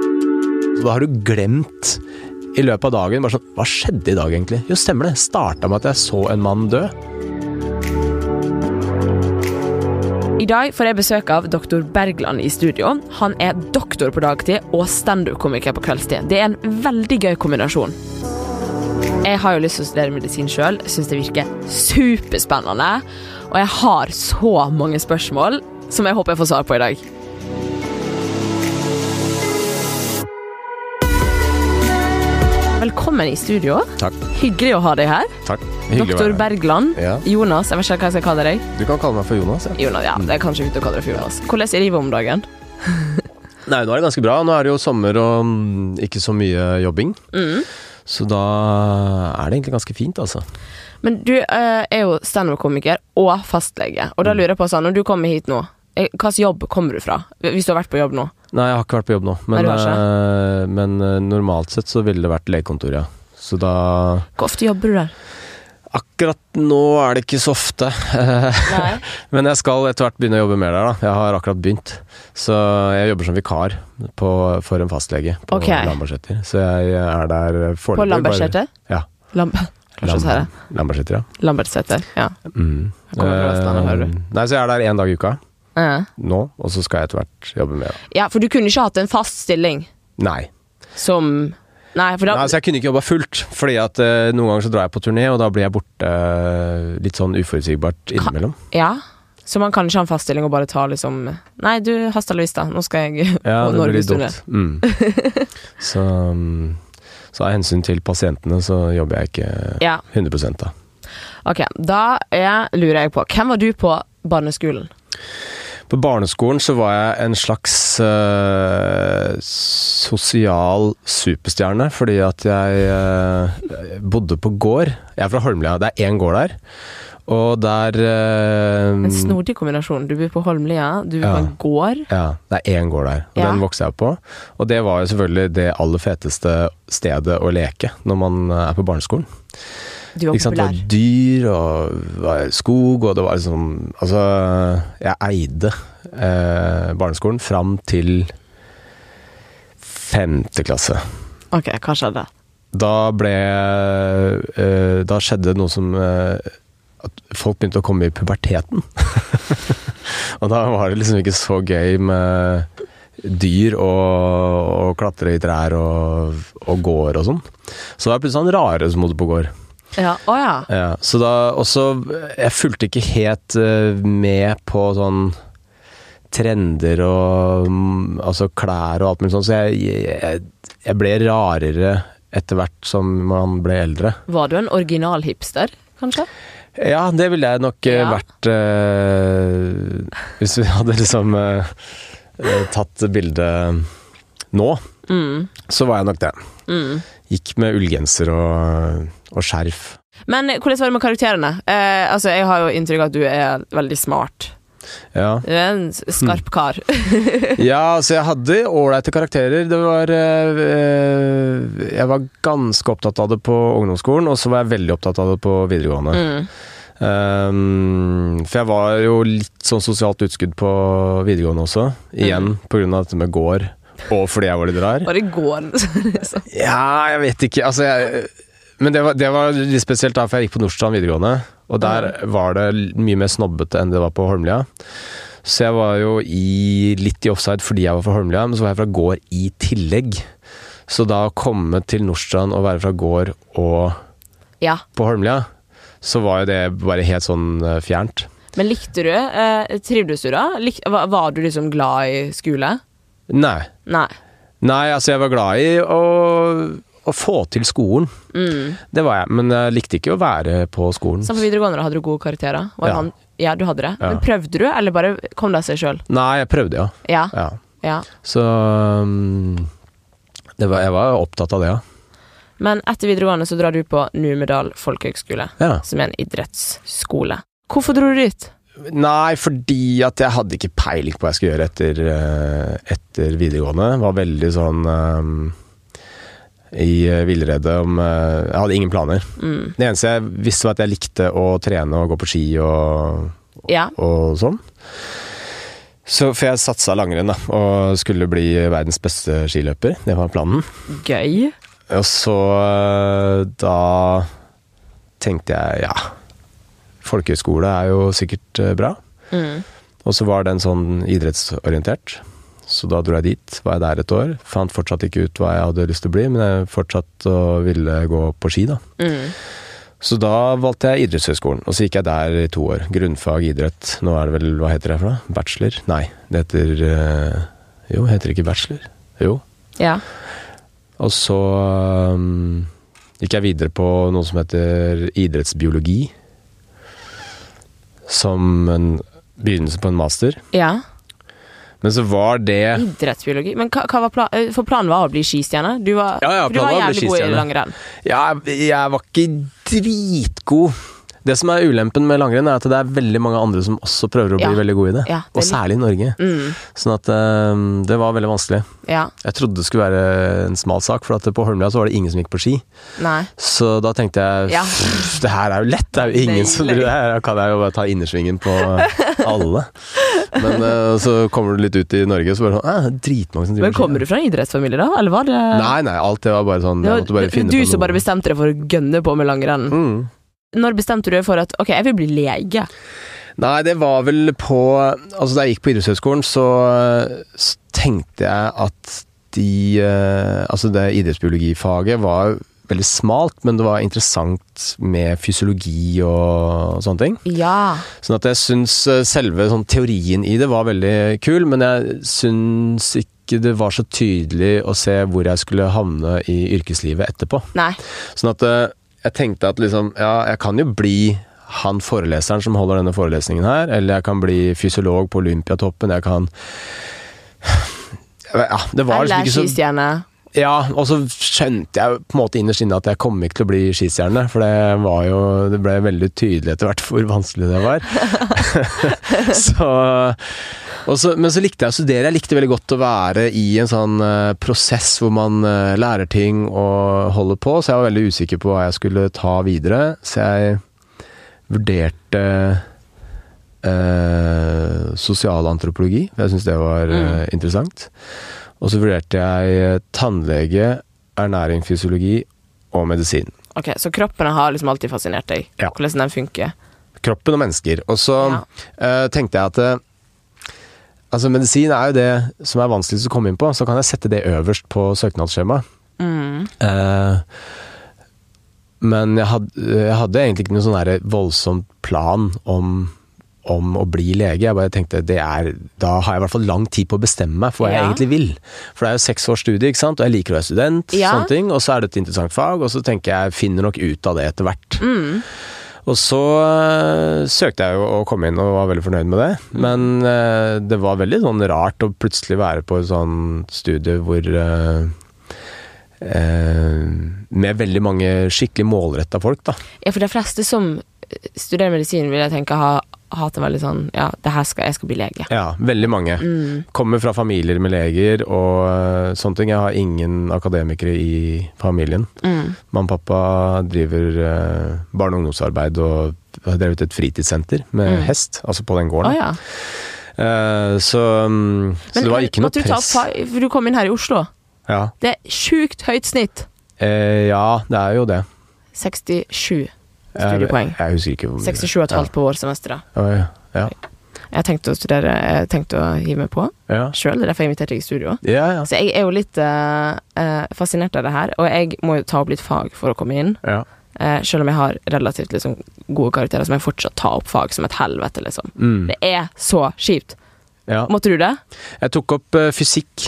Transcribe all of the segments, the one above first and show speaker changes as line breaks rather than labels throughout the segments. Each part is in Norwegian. og da har du glemt i løpet av dagen bare sånn, Hva skjedde i dag, egentlig? Jo, stemmer det. Starta med at jeg så en mann dø.
I dag får jeg besøk av doktor Bergland i studio. Han er doktor på dagtid og standup-komiker på kveldstid. Det er en veldig gøy kombinasjon. Jeg har jo lyst til å studere medisin sjøl, syns det virker superspennende. Og jeg har så mange spørsmål som jeg håper jeg får svar på i dag. Velkommen i studio.
Takk.
Hyggelig å ha deg her.
Takk.
Doktor Bergland.
Ja.
Jonas, jeg vet ikke hva jeg skal kalle deg.
Du kan kalle meg for Jonas. Ja.
Jonas, ja, det er kanskje ute å kalle det for Jonas. Hvordan er livet om dagen?
Nei, nå er det ganske bra. Nå er det jo sommer og mm, ikke så mye jobbing.
Mm.
Så da er det egentlig ganske fint, altså.
Men du eh, er jo standup-komiker og fastlege, og da
Mm.
lurer jeg på sånn, når du kommer hit nå, eh, hvilken jobb kommer du fra? Hvis du har vært på jobb nå?
Nei, jeg har ikke vært på jobb nå. Men,
Nei, det
eh, men eh, normalt sett så ville det vært legekontor, ja. Så da
Hvor ofte jobber du der?
Akkurat nå er det ikke så ofte.
Nei.
men jeg skal etter hvert begynne å jobbe mer der, da. Jeg har akkurat begynt. Så jeg jobber som vikar på, for en fastlege på
Ok.
Lambertseter. Så jeg er der foreløpig.
På
bare-
Lambertseter?
Ja.
Lamb... Kanskje jeg sier det.
Lambertseter, ja.
Lambertseter, ja.
Mm.
Jeg kommer fra Vestlandet, hører du.
Eh, Nei, så jeg er der én dag i uka
Eh.
nå, og så skal jeg etter hvert jobbe mer. da.
Ja, for du kunne ikke hatt en fast stilling
Nei.
som Nei, for da
Nei, altså- så jeg kunne ikke jobba fullt, fordi at eh, noen ganger så drar jeg på turné, og da blir jeg borte eh, litt sånn uforutsigbart innimellom.
Ja. Så man kan ikke ha en fast stilling og bare ta liksom Nei, du, hasta la vista, nå skal jeg
Ja,
på
det blir litt
Norgesturné.
dumt. Mm. Så, mm, så av hensyn til pasientene så jobber jeg ikke
Ja.
100 da.
Ok, da er, lurer jeg på Hvem var du på barneskolen?
På barneskolen så var jeg en slags eh, sosial superstjerne, fordi at jeg eh, bodde på gård. Jeg er fra Holmlia, det er én gård der. Og der eh,
En snodig kombinasjon. Du bor på Holmlia, du bor på
Ja.
en gård.
Ja, det er én gård der, og
Ja.
den vokste jeg opp på. Og det var jo selvfølgelig det aller feteste stedet å leke når man eh, er på barneskolen.
Du var
Ikke sant? Det
populær.
var dyr og det var skog, og det var liksom Altså, jeg eide eh, barneskolen fram til femte klasse.
Ok, hva skjedde?
Da ble eh, Da skjedde noe som eh, At folk begynte å komme i puberteten. og da var det liksom ikke så gøy med dyr og, og klatre i trær og, og gård og sånn. Så det var plutselig han rare som bodde på gård.
Ja, Å ja.
Ja, så da også Jeg fulgte ikke helt eh, med på sånn trender og mm, altså klær og alt mulig sånn, så jeg, jeg, jeg ble rarere etter hvert som man ble eldre.
Var du en original hipster, kanskje?
Ja, det ville jeg nok eh,
Ja.
vært eh, hvis vi hadde liksom eh, eh, tatt bildet nå.
Mm.
Så var jeg nok det.
Mm.
Gikk med ullgenser og, og skjerf.
Men hvordan var det med karakterene? Eh, altså, Jeg har jo inntrykk av at du er veldig smart.
Ja.
Du er en s-
Mm.
skarp kar.
Ja, så jeg hadde ålreite karakterer. Det var eh, eh, Jeg var ganske opptatt av det på ungdomsskolen, og så var jeg veldig opptatt av det på videregående.
Mm.
Ehm, for jeg var jo litt sånn sosialt utskudd på videregående også. Igjen på grunn av dette med gård, og fordi jeg var litt rar.
Var det i går? liksom?
Ja, jeg vet ikke. Altså, jeg Men det var, det var litt spesielt da, for jeg gikk på Nordstrand videregående. Og der var det l- mye mer snobbete enn det var på Holmlia. Så jeg var jo i, litt i offside fordi jeg var fra Holmlia, men så var jeg fra gård i tillegg. Så da å komme til Nordstrand og være fra gård og
ja.
på Holmlia, så var jo det bare helt sånn eh, fjernt.
Men likte du eh, Trivdes du da? Lik, var, var du liksom glad i skole?
Nei.
Nei.
Nei, altså jeg var glad i å, å få til skolen.
Mm.
Det var jeg, men jeg likte ikke å være på skolen.
Som på videregående da hadde du gode karakterer? Var
Ja.
Han, ja, du hadde det.
Ja.
Men prøvde du, eller bare kom det av seg sjøl?
Nei, jeg prøvde, ja.
Ja.
ja.
ja.
Så um, det var, jeg var opptatt av det, ja.
Men etter videregående så drar du på Numedal folkehøgskole,
ja.
som er en idrettsskole. Hvorfor dro du dit?
Nei, fordi at jeg hadde ikke peiling på hva jeg skulle gjøre etter, eh, etter videregående. Var veldig sånn um, i eh, villrede om eh, Jeg hadde ingen planer.
Mm.
Det eneste jeg visste, var at jeg likte å trene og gå på ski og,
Ja.
og sånn. Så, for jeg satsa langrenn, da, og skulle bli verdens beste skiløper. Det var planen.
Gøy.
Og så eh, da tenkte jeg ja, folkehøyskole er jo sikkert eh, bra.
Mm.
Og så var den sånn idrettsorientert. Så da dro jeg dit, var jeg der et år. Fant fortsatt ikke ut hva jeg hadde lyst til å bli, men jeg fortsatt å ville gå på ski, da.
Mm.
Så da valgte jeg idrettshøyskolen, og så gikk jeg der i to år. Grunnfag idrett. Nå er det vel, hva heter det for noe? Bachelor? Nei, det heter eh, Jo, heter det ikke bachelor? Jo.
Ja.
Og så um, gikk jeg videre på noe som heter idrettsbiologi. Som en begynnelse på en master.
ja.
Men så var det
Idrettsbiologi. Men hva, hva var plan, eh, for planen var å bli skistjerne? Du var,
Ja, ja,
for du var
planen var å bli
jævlig god i
skistjerne.
langrenn.
Ja, jeg jeg var ikke dritgod. Det som er ulempen med langrenn, er at det er veldig mange andre som også prøver å bli
Ja.
veldig gode i det.
Ja, det er
og særlig i Norge.
Mm.
Sånn at um, det var veldig vanskelig.
Ja.
Jeg trodde det skulle være en smal sak, for at på Holmlia så var det ingen som gikk på ski.
Nei.
Så da tenkte jeg
Ja.
"Pff, det her er jo lett, det er jo ingen
Deilig.
som driver det her. Da kan jeg jo bare ta innersvingen på alle. Men eh, så kommer du litt ut i Norge, så bare sånn eh, Dritmange som driver
Men kommer du fra en idrettsfamilie, da? Eller var det
Nei, nei, alt det var bare sånn
det
Jeg
var,
måtte bare finne
Du
på
som bare bestemte deg for å gønne på med langrenn.
mm.
Når bestemte du deg for at ok, jeg vil bli lege?
Nei, det var vel på Altså, da jeg gikk på idrettshøyskolen, så, så tenkte jeg at de eh, Altså, det idrettsbiologifaget var veldig smalt, men det var interessant med fysiologi og sånne ting.
Ja.
Sånn at jeg syns eh, selve sånn, teorien i det var veldig kul, men jeg syns ikke det var så tydelig å se hvor jeg skulle havne i yrkeslivet etterpå.
Nei.
Sånn at eh, jeg tenkte at liksom, ja, jeg kan jo bli han foreleseren som holder denne forelesningen her, eller jeg kan bli fysiolog på Olympiatoppen, jeg kan ja, det var liksom
Eller
ikke så
skistjerne.
Ja, og så skjønte jeg på en måte innerst inne at jeg kom ikke til å bli skistjerne, for det var jo Det ble veldig tydelig etter hvert hvor vanskelig det var. så, og så, men så likte jeg å studere. Jeg likte veldig godt å være i en sånn eh, prosess hvor man eh, lærer ting og holder på, så jeg var veldig usikker på hva jeg skulle ta videre. Så jeg vurderte eh, sosialantropologi, for jeg syntes det var eh, interessant. Og så vurderte jeg eh, tannlege, ernæring, fysiologi og medisin.
Ok, Så kroppen har liksom alltid fascinert deg?
Ja.
Hvordan den funker?
Kroppen og mennesker. Og så
Ja.
eh, tenkte jeg at eh, altså medisin er jo det som er vanskeligst å komme inn på, så kan jeg sette det øverst på søknadsskjemaet. Eh, men jeg hadde, jeg hadde egentlig ikke noen sånn der voldsom plan om om å bli lege. Jeg bare tenkte det er, Da har jeg i hvert fall lang tid på å bestemme meg for hva jeg
Ja.
egentlig vil. For det er jo seks års studie, ikke sant? og jeg liker å være student,
Ja.
sånne ting. Og så er det et interessant fag, og så tenker jeg finner nok ut av det etter hvert. Og så øh, søkte jeg jo å komme inn og var veldig fornøyd med det. Men øh, det var veldig sånn rart å plutselig være på et sånn studie hvor øh, øh, Med veldig mange skikkelig målretta folk, da.
Ja, for de fleste som eh, studerer medisin, vil jeg tenke har hatt en veldig sånn Ja, det her skal, jeg skal bli lege.
Ja, veldig mange.
Mm.
Kommer fra familier med leger og øh, sånne ting. Jeg har ingen akademikere i familien. Mamma og pappa driver øh, barne- og ungdomsarbeid og har drevet et fritidssenter med hest, altså på den
Mm. Å
gården.
ja.
Eh, så, mm, så det var ikke noe
måtte du ta
press.
fa- For du kom inn her i Oslo.
Ja.
Det er sjukt høyt snitt.
Eh, ja, det er jo det.
67
Jeg, jeg,
studiepoeng.
husker ikke hvor mye.
67,5 på vårsemesteret.
Ja, ja, ja,
Jeg har tenkt å studere Jeg har tenkt å hive meg på
ja.
sjøl, det er derfor jeg inviterte deg i studio.
ja, ja.
Så jeg er jo litt eh, eh, fascinert av det her, og jeg må jo ta opp litt fag for å komme inn.
ja.
Eh, selv om jeg har relativt liksom, gode karakterer, så må jeg fortsatt ta opp fag som et helvete, liksom.
Mm,
Det er så kjipt.
ja.
Måtte du det?
Jeg tok opp eh, fysikk.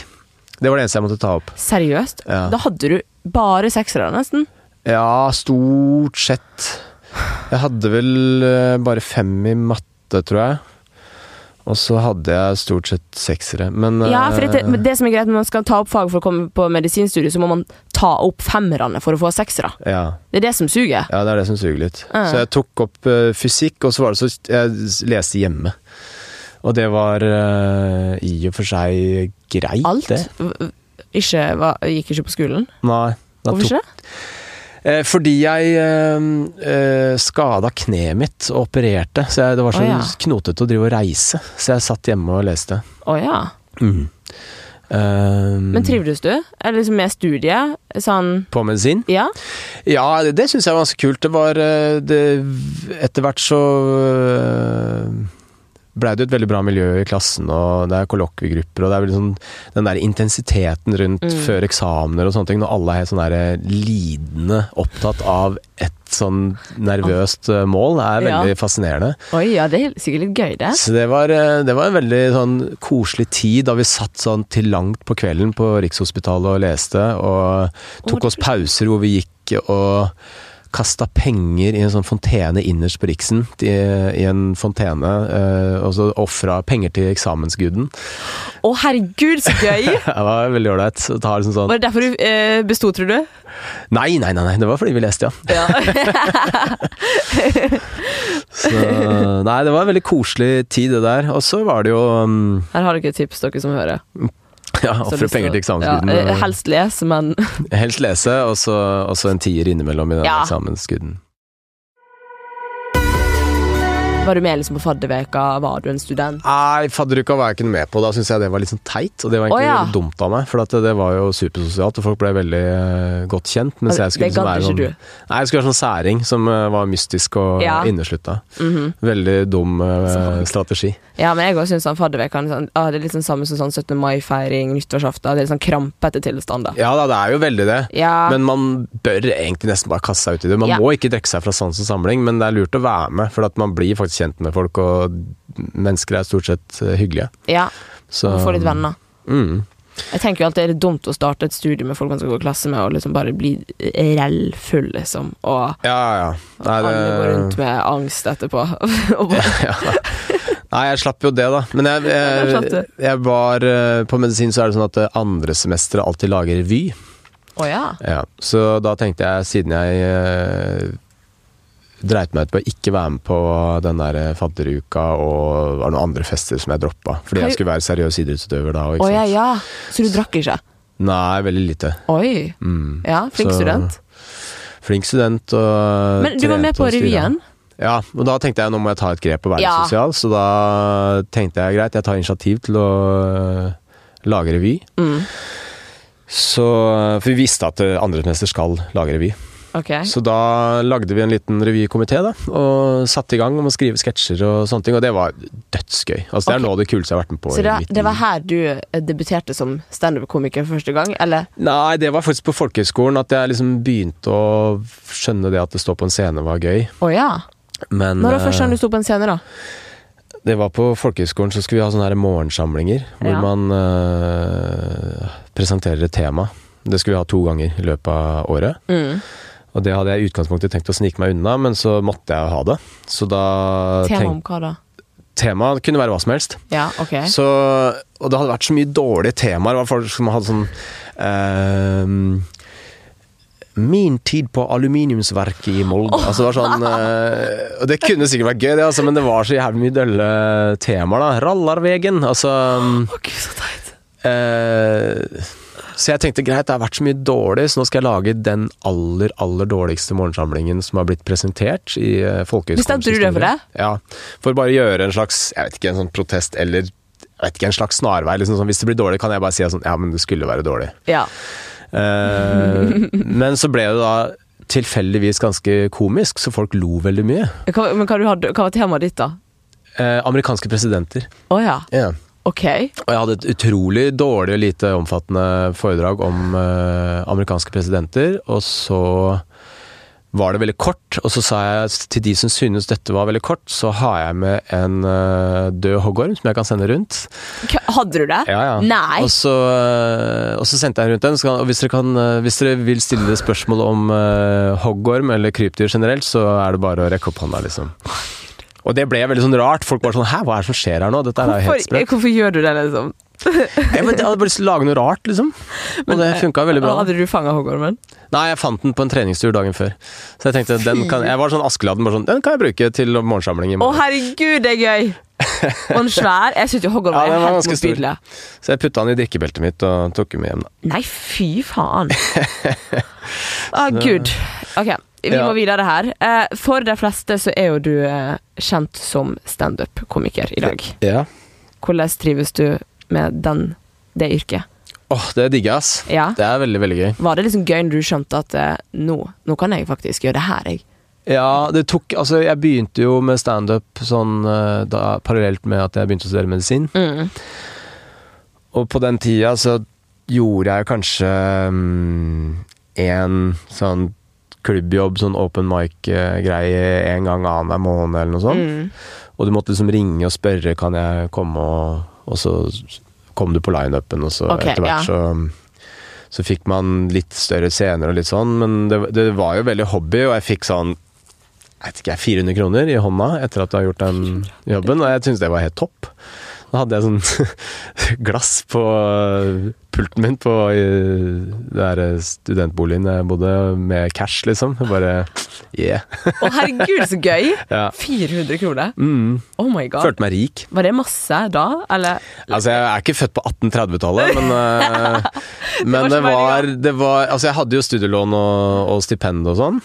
Det var det eneste jeg måtte ta opp.
Seriøst?
Ja.
Da hadde du bare seksere, nesten.
Ja, stort sett. Jeg hadde vel eh, bare fem i matte, tror jeg. Og så hadde jeg stort sett seksere, men
Ja, for det,
eh,
men det som er greit, når man skal ta opp fag for å komme på medisinstudiet, så må man ta opp femmerne for å få seksere.
eh, ja.
Det er det som suger.
Ja, det er det som suger litt.
Ja.
Så jeg tok opp eh, fysikk, og så var det så Jeg s- leste hjemme. Og det var eh, i og for seg greit,
Alt
det.
v- v- ikke, var, gikk ikke på skolen.
Nei. da
Hvorfor
tok-
ikke det?
Eh, fordi jeg eh, eh, skada kneet mitt og opererte, så jeg, det var så
Å, ja.
knotete å drive og reise. Så jeg satt hjemme og leste.
Å ja.
Mm. Eh,
Men trivdes du? Er det liksom med studiet? Sånn
Ehm, på medisin?
Ja?
Ja, det, det syns jeg var ganske kult. Det var eh, det, Etter hvert så blei det jo et veldig bra miljø i klassen, og det er kollokviegrupper, og det er vel sånn den der intensiteten rundt
Mm.
før eksamener og sånne ting, når alle er helt sånn der eh, lidende opptatt av et sånn nervøst eh, mål, er
Ja.
veldig fascinerende.
Oi, ja, det er sikkert litt gøy, det.
Så det var, eh, det var en veldig sånn koselig tid da vi satt sånn til langt på kvelden på Rikshospitalet og leste, og
Hvor-
tok oss pauser hvor vi gikk og kasta penger i en sånn fontene innerst på Riksen, i, i en fontene, eh, og så ofra penger til eksamensguden.
Å, herregud, så gøy!
Det var veldig ålreit. Så tar liksom sånn
Var det derfor du eh, besto, tror du?
Nei, nei, nei, nei, det var fordi vi leste, ja.
Ja.
Så, nei, det var en veldig koselig tid, det der. Og så var det jo um,
Her har dere et tips, dere som hører.
Ja,
Så
ofre
lyst
penger til
å- ja,
eksamensguden.
eh, helst les, men
Helst lese, og så, og så en tier innimellom i den
Ja.
eksamensguden.
Var du med liksom på fadderveka? Var du en student?
Nei, fadderuka var jeg ikke noe med på. Da syns jeg det var litt sånn teit, og det var egentlig
Å, ja.
veldig dumt av meg. For at det, det var jo supersosialt, og folk ble veldig eh, godt kjent. Mens jeg skulle
det
liksom
gadd
være
ikke
sånn
du.
Nei, jeg skulle være sånn særing som eh, var mystisk og
Ja.
inneslutta.
Mhm.
Veldig dum eh, strategi.
Ja, men jeg også syns sånn fadderveka er litt sånn, ah, det er litt sånn samme som sånn 17. mai-feiring, nyttårsaften. Det er litt sånn krampete tilstander.
Ja da, det er jo veldig det.
Ja.
Men man bør egentlig nesten bare kaste seg ut i det. Man
Ja.
må ikke trekke seg fra sans og samling, men det er lurt å være med, for at man blir faktisk kjent med folk, og mennesker er stort sett eh, hyggelige.
ja.
Så,
Få litt venner.
Mm.
Jeg tenker jo alltid er det dumt å starte et studie med folk man skal gå i klasse med, og liksom bare bli rellfull, liksom. Og
Ja, ja. Nei, det-
alle går rundt med angst etterpå. og bare,
ja. Nei, jeg slapp jo det, da. Men jeg,
Ja, det slapp
jeg,
du.
jeg var eh, På medisin så er det sånn at eh, andre semestre alltid lager revy.
å ja.
Ja. Så da tenkte jeg, siden jeg eh, dreit meg ut på å ikke være med på den der eh, fadderuka og var noen andre fester som jeg droppa. Fordi
Hei.
jeg skulle være seriøs idrettsutøver da. og
Å
Ikke
ja,
sant?
ja. Så du drakk ikke?
Nei, veldig lite.
Oi.
Mm.
Ja, flink
Så-
student.
Flink student og
Men du var med
trente
på
og styra.
revyen?
Ja, og da tenkte jeg nå må jeg ta et grep og være
Ja.
litt sosial, så da tenkte jeg greit, jeg tar initiativ til å øh, lage revy.
Mm.
Så, for vi visste at øh, andresemester skal lage revy.
Ok.
Så da lagde vi en liten revykomité, da, og satte i gang med å skrive sketsjer og sånne ting, og det var dødsgøy. Altså det
Ok.
er nå det kuleste jeg har vært med på.
Så
i
det,
mitt
det var
liv.
her du eh, debuterte som standup-komiker for første gang, eller?
Nei, det var faktisk på folkehøyskolen at jeg liksom begynte å skjønne det at det stå på en scene var gøy,
Å ja.
men
Når var første
øh,
gang du sto på en scene, da?
Det var på folkehøyskolen, så skulle vi ha sånne her morgensamlinger. Hvor
Ja.
man øh, presenterer et tema. Det skulle vi ha to ganger i løpet av året.
Mm.
Og det hadde jeg i utgangspunktet tenkt å snike meg unna, men så måtte jeg ha det. Så da
Tema om
tenk-
hva da?
Tema kunne være hva som helst.
Ja, ok.
Så, og det hadde vært så mye dårlige temaer. Det var folk som hadde sånn ehm, Min tid på aluminiumsverket i Molde. Altså det var sånn eh, Og det kunne sikkert vært gøy, det, altså, men det var så jævlig mye dølle temaer, da. Rallarvegen, altså
Å gud, så teit.
eh, Så jeg tenkte greit, det har vært så mye dårlig, så nå skal jeg lage den aller, aller dårligste morgensamlingen som har blitt presentert i eh, folkehøyskolens
Bestemte du deg for
historie.
det?
Ja, for bare å gjøre en slags, jeg vet ikke, en sånn protest eller jeg vet ikke, en slags snarvei. Liksom, sånn, hvis det blir dårlig, kan jeg bare si sånn, ja, men det skulle være dårlig.
Ja.
Eh, men så ble det da tilfeldigvis ganske komisk, så folk lo veldig mye.
Hva, men hva, du hadde, hva var temaet ditt, da?
Eh, amerikanske presidenter.
Å ja. Ok.
Og jeg hadde et utrolig dårlig og lite omfattende foredrag om eh, amerikanske presidenter, og så var det veldig kort, og så sa jeg til de som synes dette var veldig kort, så har jeg med en eh, død hoggorm som jeg kan sende rundt.
Hva- Hadde du det?
Ja, ja. Altså,
Nei.
Og så, øh, og så sendte jeg rundt den. så kan- Og hvis dere, kan, øh, hvis dere vil stille spørsmål om øh, hoggorm eller krypdyr generelt, så er det bare å rekke opp hånda, liksom. Og det ble veldig sånn rart. Folk var sånn Hæ, hva er det som skjer her nå? Dette er jo helt
Hvorfor,
sprøtt.
hvorfor gjør du det, liksom?
Jeg bare, jeg hadde bare lyst til å lage noe rart, liksom. Og det
eh,
funka veldig bra.
Hadde du fanga hoggormen?
Nei, jeg fant den på en treningstur dagen før. Så jeg tenkte, den kan, jeg var sånn Askeladden, bare sånn Den kan jeg bruke til morgensamling i
Å,
morgen.
herregud, det er gøy! Og den svær. Jeg syns jo hoggormen
Ja, den
er
var
helt
ganske stor.
motbydelig.
Så jeg putta den i drikkebeltet mitt og tok den med hjem. da.
Nei, fy faen. Å, gud. Ok, vi
Ja.
må videre her. Eh, For de fleste så er jo du eh, kjent som standup-komiker i dag.
Ja.
Hvordan trives du med den, det yrket?
Åh, det digger jeg, ass.
Ja.
Det er veldig, veldig gøy.
Var det liksom gøy når du skjønte at eh, nå, nå kan jeg faktisk gjøre det her, jeg?
Ja, det tok Altså, jeg begynte jo med standup sånn eh, da, parallelt med at jeg begynte å studere medisin.
Mm.
Og på den tida så gjorde jeg kanskje én sånn klubbjobb, sånn open mic-greie en gang annenhver måned eller noe sånt.
Mm.
Og du måtte liksom ringe og spørre kan jeg komme, og, og så kom du på lineupen, og så
Ok,
etter
ja.
hvert så så fikk man litt større scener og litt sånn, men det, det var jo veldig hobby, og jeg fikk sånn jeg vet ikke, 400 kroner i hånda etter at du har gjort den jobben, og jeg syntes det var helt topp. Da hadde jeg sånn glass på pulten min på i det der studentboligen jeg bodde, med cash, liksom. Jeg Bare yeah.
Å, herregud, så gøy!
Ja.
400 kroner.
Mm.
Oh my god.
Følte meg rik.
Var det masse da, eller?
Altså, jeg er ikke født på 1830-tallet, men, eh, men
Det
det,
var så
var, det var Altså, jeg hadde jo studielån og, og stipend og sånn,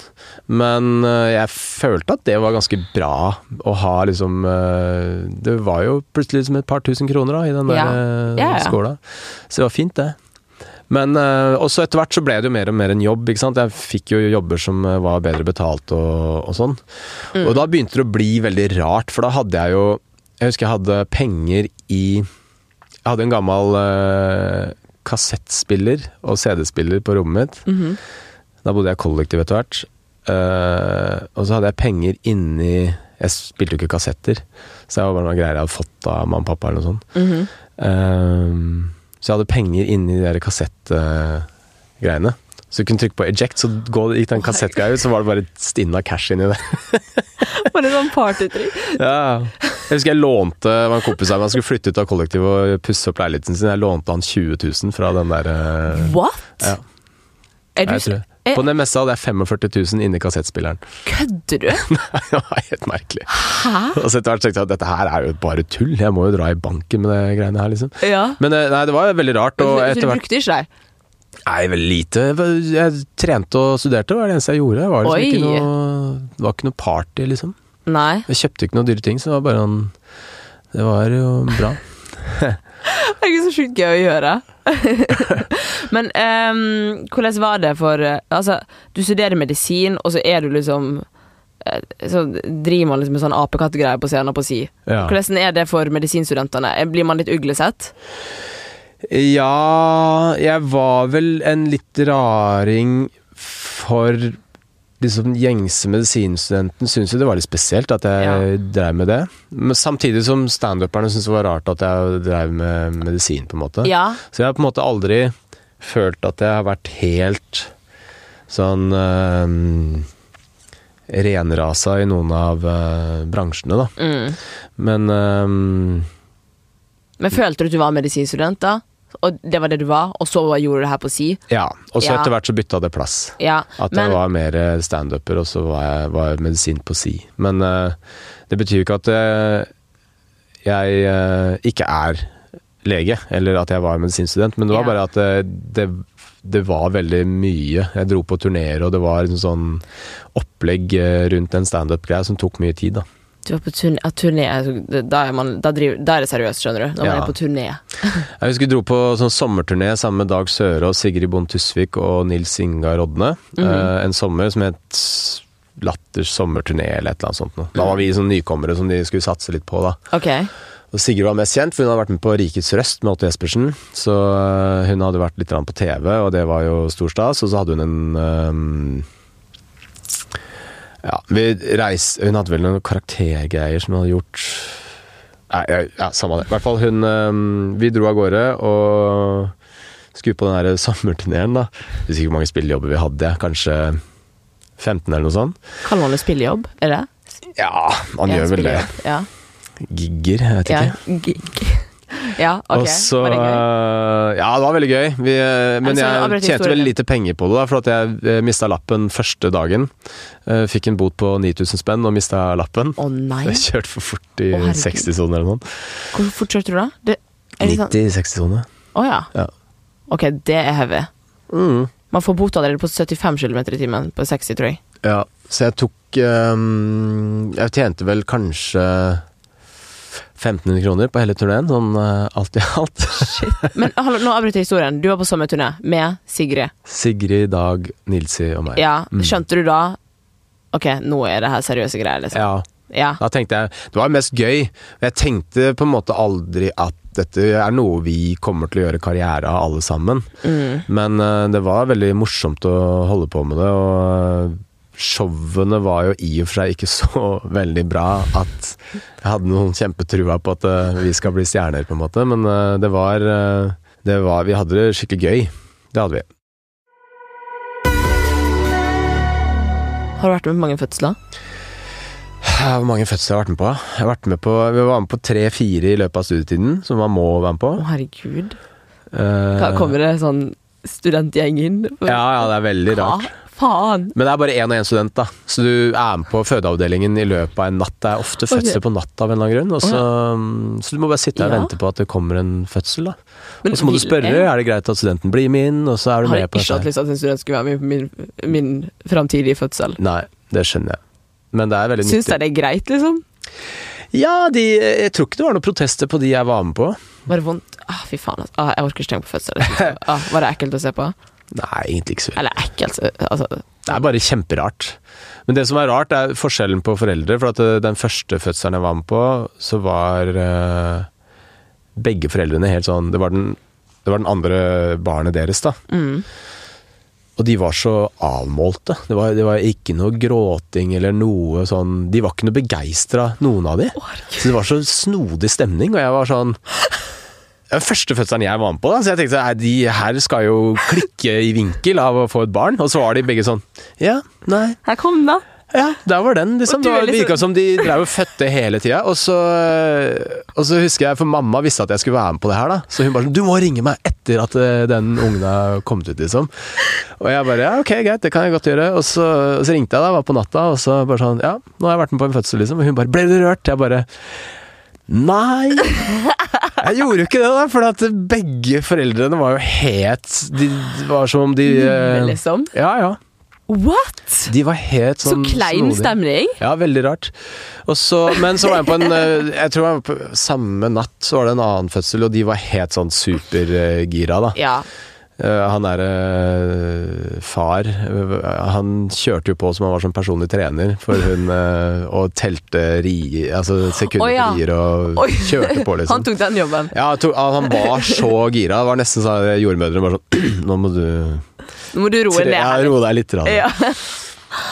men eh, jeg følte at det var ganske bra å ha liksom eh, Det var jo plutselig liksom et par tusen kroner da, i den der
Ja.
eh,
Ja, ja.
skåla. Så det var fint, det. Men eh, og så etter hvert så ble det jo mer og mer en jobb. ikke sant? Jeg fikk jo jobber som eh, var bedre betalt og, og sånn.
Mm.
Og da begynte det å bli veldig rart, for da hadde jeg jo Jeg husker jeg hadde penger i Jeg hadde en gammel eh, kassettspiller og CD-spiller på rommet mitt.
Mhm.
Da bodde jeg kollektiv etter hvert. Eh, og så hadde jeg penger inni Jeg spilte jo ikke kassetter, så det var bare noen greier jeg hadde fått av mamma og pappa eller noe sånt.
Mhm.
Ehm, så jeg hadde penger inni de der kassettgreiene. Så du kunne trykke på eject, så gå, gikk den kassettgreia ut, så var det bare stinna cash inni der.
Var det sånn partytrick?
Ja. Jeg husker jeg lånte det var en kompis av meg, han skulle flytte ut av kollektivet og pusse opp leiligheten sin. Jeg lånte han 20 000 fra den der eh,
What?
Ja.
Er
jeg
du, eh,
tror det.
er-
På den messa hadde jeg 45 000 inni kassettspilleren.
kødder du?
det var helt merkelig. Og så etter hvert tenkte jeg at dette her er jo bare tull, jeg må jo dra i banken med det greiene her, liksom.
Ja.
Men eh, nei, det var veldig rart. Og
Så
etter
du
hvert
brukte ikke deg?
Nei, veldig lite. Jeg trente og studerte, det var det eneste jeg gjorde. Det var, liksom
Oi.
ikke noe, det var ikke noe party, liksom.
Nei.
Jeg kjøpte ikke noen dyre ting, så det var bare en Det var jo bra.
Det er ikke så sjukt gøy å gjøre. Men ehm, hvordan var det for eh, Altså, du studerer medisin, og så er du liksom eh, så driver man liksom med sånn apekattegreier på scenen på si.
Ja.
Hvordan er det for medisinstudentene? Eh, Blir man litt uglesett?
ja, jeg var vel en litt raring for liksom gjengse medisinstudenten syntes jo det var litt spesielt at jeg drev med det. Men samtidig som standuperne syntes det var rart at jeg drev med medisin, på en måte.
Ja.
Så jeg har på en måte aldri følt at jeg har vært helt sånn eh, renrasa i noen av eh, bransjene, da.
Mm.
Men eh,
Men følte du at du var medisinstudent, da? Og det var det du var, og så gjorde du det her på si?
ja. Og så
Ja.
etter hvert så bytta det plass.
Ja.
At
Men
jeg var mer standuper, og så var jeg, var jeg medisin på si. Men eh, det betyr jo ikke at eh, jeg eh, ikke er lege, eller at jeg var medisinstudent, men det var
Ja.
bare at eh, det, det var veldig mye. Jeg dro på turneer, og det var en sånn opplegg eh, rundt en standup-greie som tok mye tid, da.
du var på turné, ja, turné altså, da, er man, da, driver, da er det seriøst, skjønner du. Når man
Ja.
er på turné.
Jeg husker vi dro på sånn sommerturné sammen med Dag Søre og Sigrid Bond Tusvik og Nils Inga Rodne. eh, en sommer som het Latters sommerturné eller et eller annet sånt. Noe. Da var vi sånn nykommere som de skulle satse litt på. da.
Ok.
Og Sigrid var mest kjent, for hun hadde vært med på Rikets Røst med Otto Jespersen. Så eh, hun hadde vært litt grann på TV, og det var jo stor stas. Og så hadde hun en ehm, ja, vi reis, Hun hadde vel noen karaktergreier som hun hadde gjort Nei, ja, ja, samme det. I hvert fall hun øhm, Vi dro av gårde og skulle på den der sommerturneen, da. Jeg Husker ikke hvor mange spillejobber vi hadde. Kanskje 15 eller noe sånt?
Kaller man det spillejobb? Er det?
Ja, man
Ja,
gjør vel det.
spillejobb, Ja.
Gigger, jeg vet
Ja.
ikke.
Gig. Ja, ok.
Og så eh,
Var det gøy?
Ja, det var veldig gøy. Vi, eh, men
Altså,
jeg
avbrøt
tjente
historien.
veldig lite penger på det, da, for at jeg mista lappen første dagen. Eh, Fikk en bot på 9000 spenn og mista lappen.
Å nei,
Jeg kjørte for fort i
Å, herregud.
60-sonen eller noe.
hvor fort kjørte du da? Det, er det sånn?
90-60-sone.
Å ja.
Ja.
Ok, det er heavy.
Mm.
Man får bot allerede på 75 km i timen på 60, tror jeg.
Ja, så jeg tok ehm, Jeg tjente vel kanskje 1500 kroner på hele turneen, sånn eh, alt i alt.
Men hallo, nå avbryter jeg historien. Du var på sommerturné med Sigrid.
Sigrid, Dag, Nilsi og meg.
Ja, skjønte du da Ok, nå er det her seriøse greier, liksom.
ja.
Ja.
Da tenkte jeg, Det var mest gøy. Jeg tenkte på en måte aldri at dette er noe vi kommer til å gjøre karriere av, alle sammen. Men eh, det var veldig morsomt å holde på med det. Og eh, showene var jo i og for seg ikke så veldig bra at jeg hadde noen kjempetrua på at eh, vi skal bli stjerner, på en måte. Men eh, det var, eh, det var Vi hadde det skikkelig gøy. Det hadde vi.
Har du vært med på mange fødsler?
Ja, Hvor mange fødsler har jeg vært med på? da? Jeg har vært med på vi var med på tre-fire i løpet av studietiden, som man må være med på.
Å, herregud. Hva,
Eh,
kommer det sånn studentgjeng inn?
Ja, ja, det er veldig rart.
Hva faen?
Men det er bare én og én student, da. Så du er med på fødeavdelingen i løpet av en natt. Det er ofte fødsler på natt av en eller annen grunn. Og så, mm, så du må bare sitte her og
Ja.
vente på at det kommer en fødsel, da.
Men
Og så må du
vil
spørre
jeg-
er det greit at studenten blir med inn, og så er du
Har jeg
med på
ikke hatt
dette.
lyst til at en student skulle være med på min, min framtidige fødsel?
Nei, det skjønner jeg. Men det er veldig nyttig.
Syns jeg det er greit, liksom?
Ja, de, jeg tror ikke det var noen protester på de jeg var med på.
Var det vondt? Ah, fy faen, altså. Ah, jeg orker ikke tenke på fødsel. liksom. Ah, var det ekkelt å se på?
Nei, egentlig ikke så
Eller ekkelt altså.
Det er bare kjemperart. Men det som er rart, er forskjellen på foreldre. For at eh, den første fødselen jeg var med på, så var eh, begge foreldrene helt sånn Det var den, det var den andre barnet deres, da. Og de var så avmålte. Det var, det var ikke noe gråting eller noe sånn De var ikke noe begeistra, noen av de. Så det var så snodig stemning, og jeg var sånn det var første fødselen jeg var med på, da, så jeg tenkte at de her skal jo klikke i vinkel av å få et barn. Og så var de begge sånn Ja, nei,
Her kom den, da.
ja, der var den, liksom.
Og du
Det
er
var-
liksom-
virka som de drev og fødte hele tida. Og, så- og så husker jeg, for mamma visste at jeg skulle være med på det her, da. Så hun bare sånn Du må ringe meg etter at eh, den ungen har kommet ut, liksom. Og jeg bare ja, ok, greit, det kan jeg godt gjøre. Og så, og så ringte jeg da, var på natta, og så bare sånn Ja, nå har jeg vært med på en fødsel, liksom. Og hun bare Ble du rørt? Jeg bare Nei! Jeg gjorde jo ikke det, da, for at begge foreldrene var jo het De det var som om de eh,
Men liksom.
Ja, ja.
What?!
De var helt
Så
sånn
klein
snodige.
stemning.
Ja, veldig rart. Og så, men så var jeg på en eh, Jeg tror jeg var på samme natt så var det en annen fødsel, og de var helt sånn supergira, da.
Ja.
Eh, Han er eh, far eh, Han kjørte jo på som han var som personlig trener for hun, eh, og telte ri, altså sekunder på
Å, ja.
rier og
Oi.
Mm. kjørte på, liksom.
Han tok den jobben.
ja, jeg tror- han var så gira. Det var nesten sånn at jordmødrene bare sånn Nå må du
Nå må du roe ned.
ja,
her.
roe deg litt. grann."
Ja.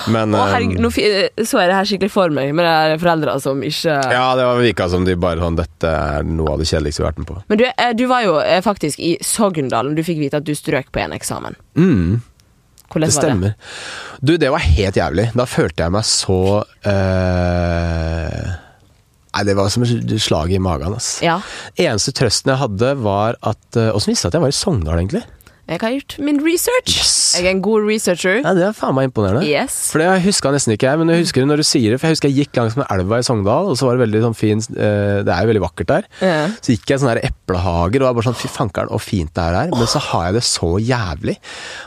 Men
Å,
eh,
herregud, nå fi- så jeg det her skikkelig for meg, med de foreldra som ikke
Ja, det var- virka som de bare sånn Dette er noe av det kjedeligste vi har vært med på.
Men du, eh, du var jo eh, faktisk i Sogndalen. Du fikk vite at du strøk på en eksamen. Hvordan
Mm. Det
var det?
stemmer. Du, det var helt jævlig. Da følte jeg meg så eh, Nei, det var som et slag i magen, ass.
Ja.
Eneste trøsten jeg hadde, var at eh, Åssen visste jeg at jeg var i Sogndal, egentlig?
Jeg har gjort min research. Ah.
Yes.
Jeg er en god researcher.
Ja, det er faen meg imponerende.
Yes. Mm.
For det huska jeg nesten ikke, jeg, men jeg husker det når du sier det. For jeg husker jeg gikk langs med elva i Sogndal, og så var det veldig sånn fin eh, Det er jo veldig vakkert der.
Ja.
Så gikk jeg i sånne her eplehager og var bare sånn fy fankeren, så fint det er her. Men så har jeg det så jævlig.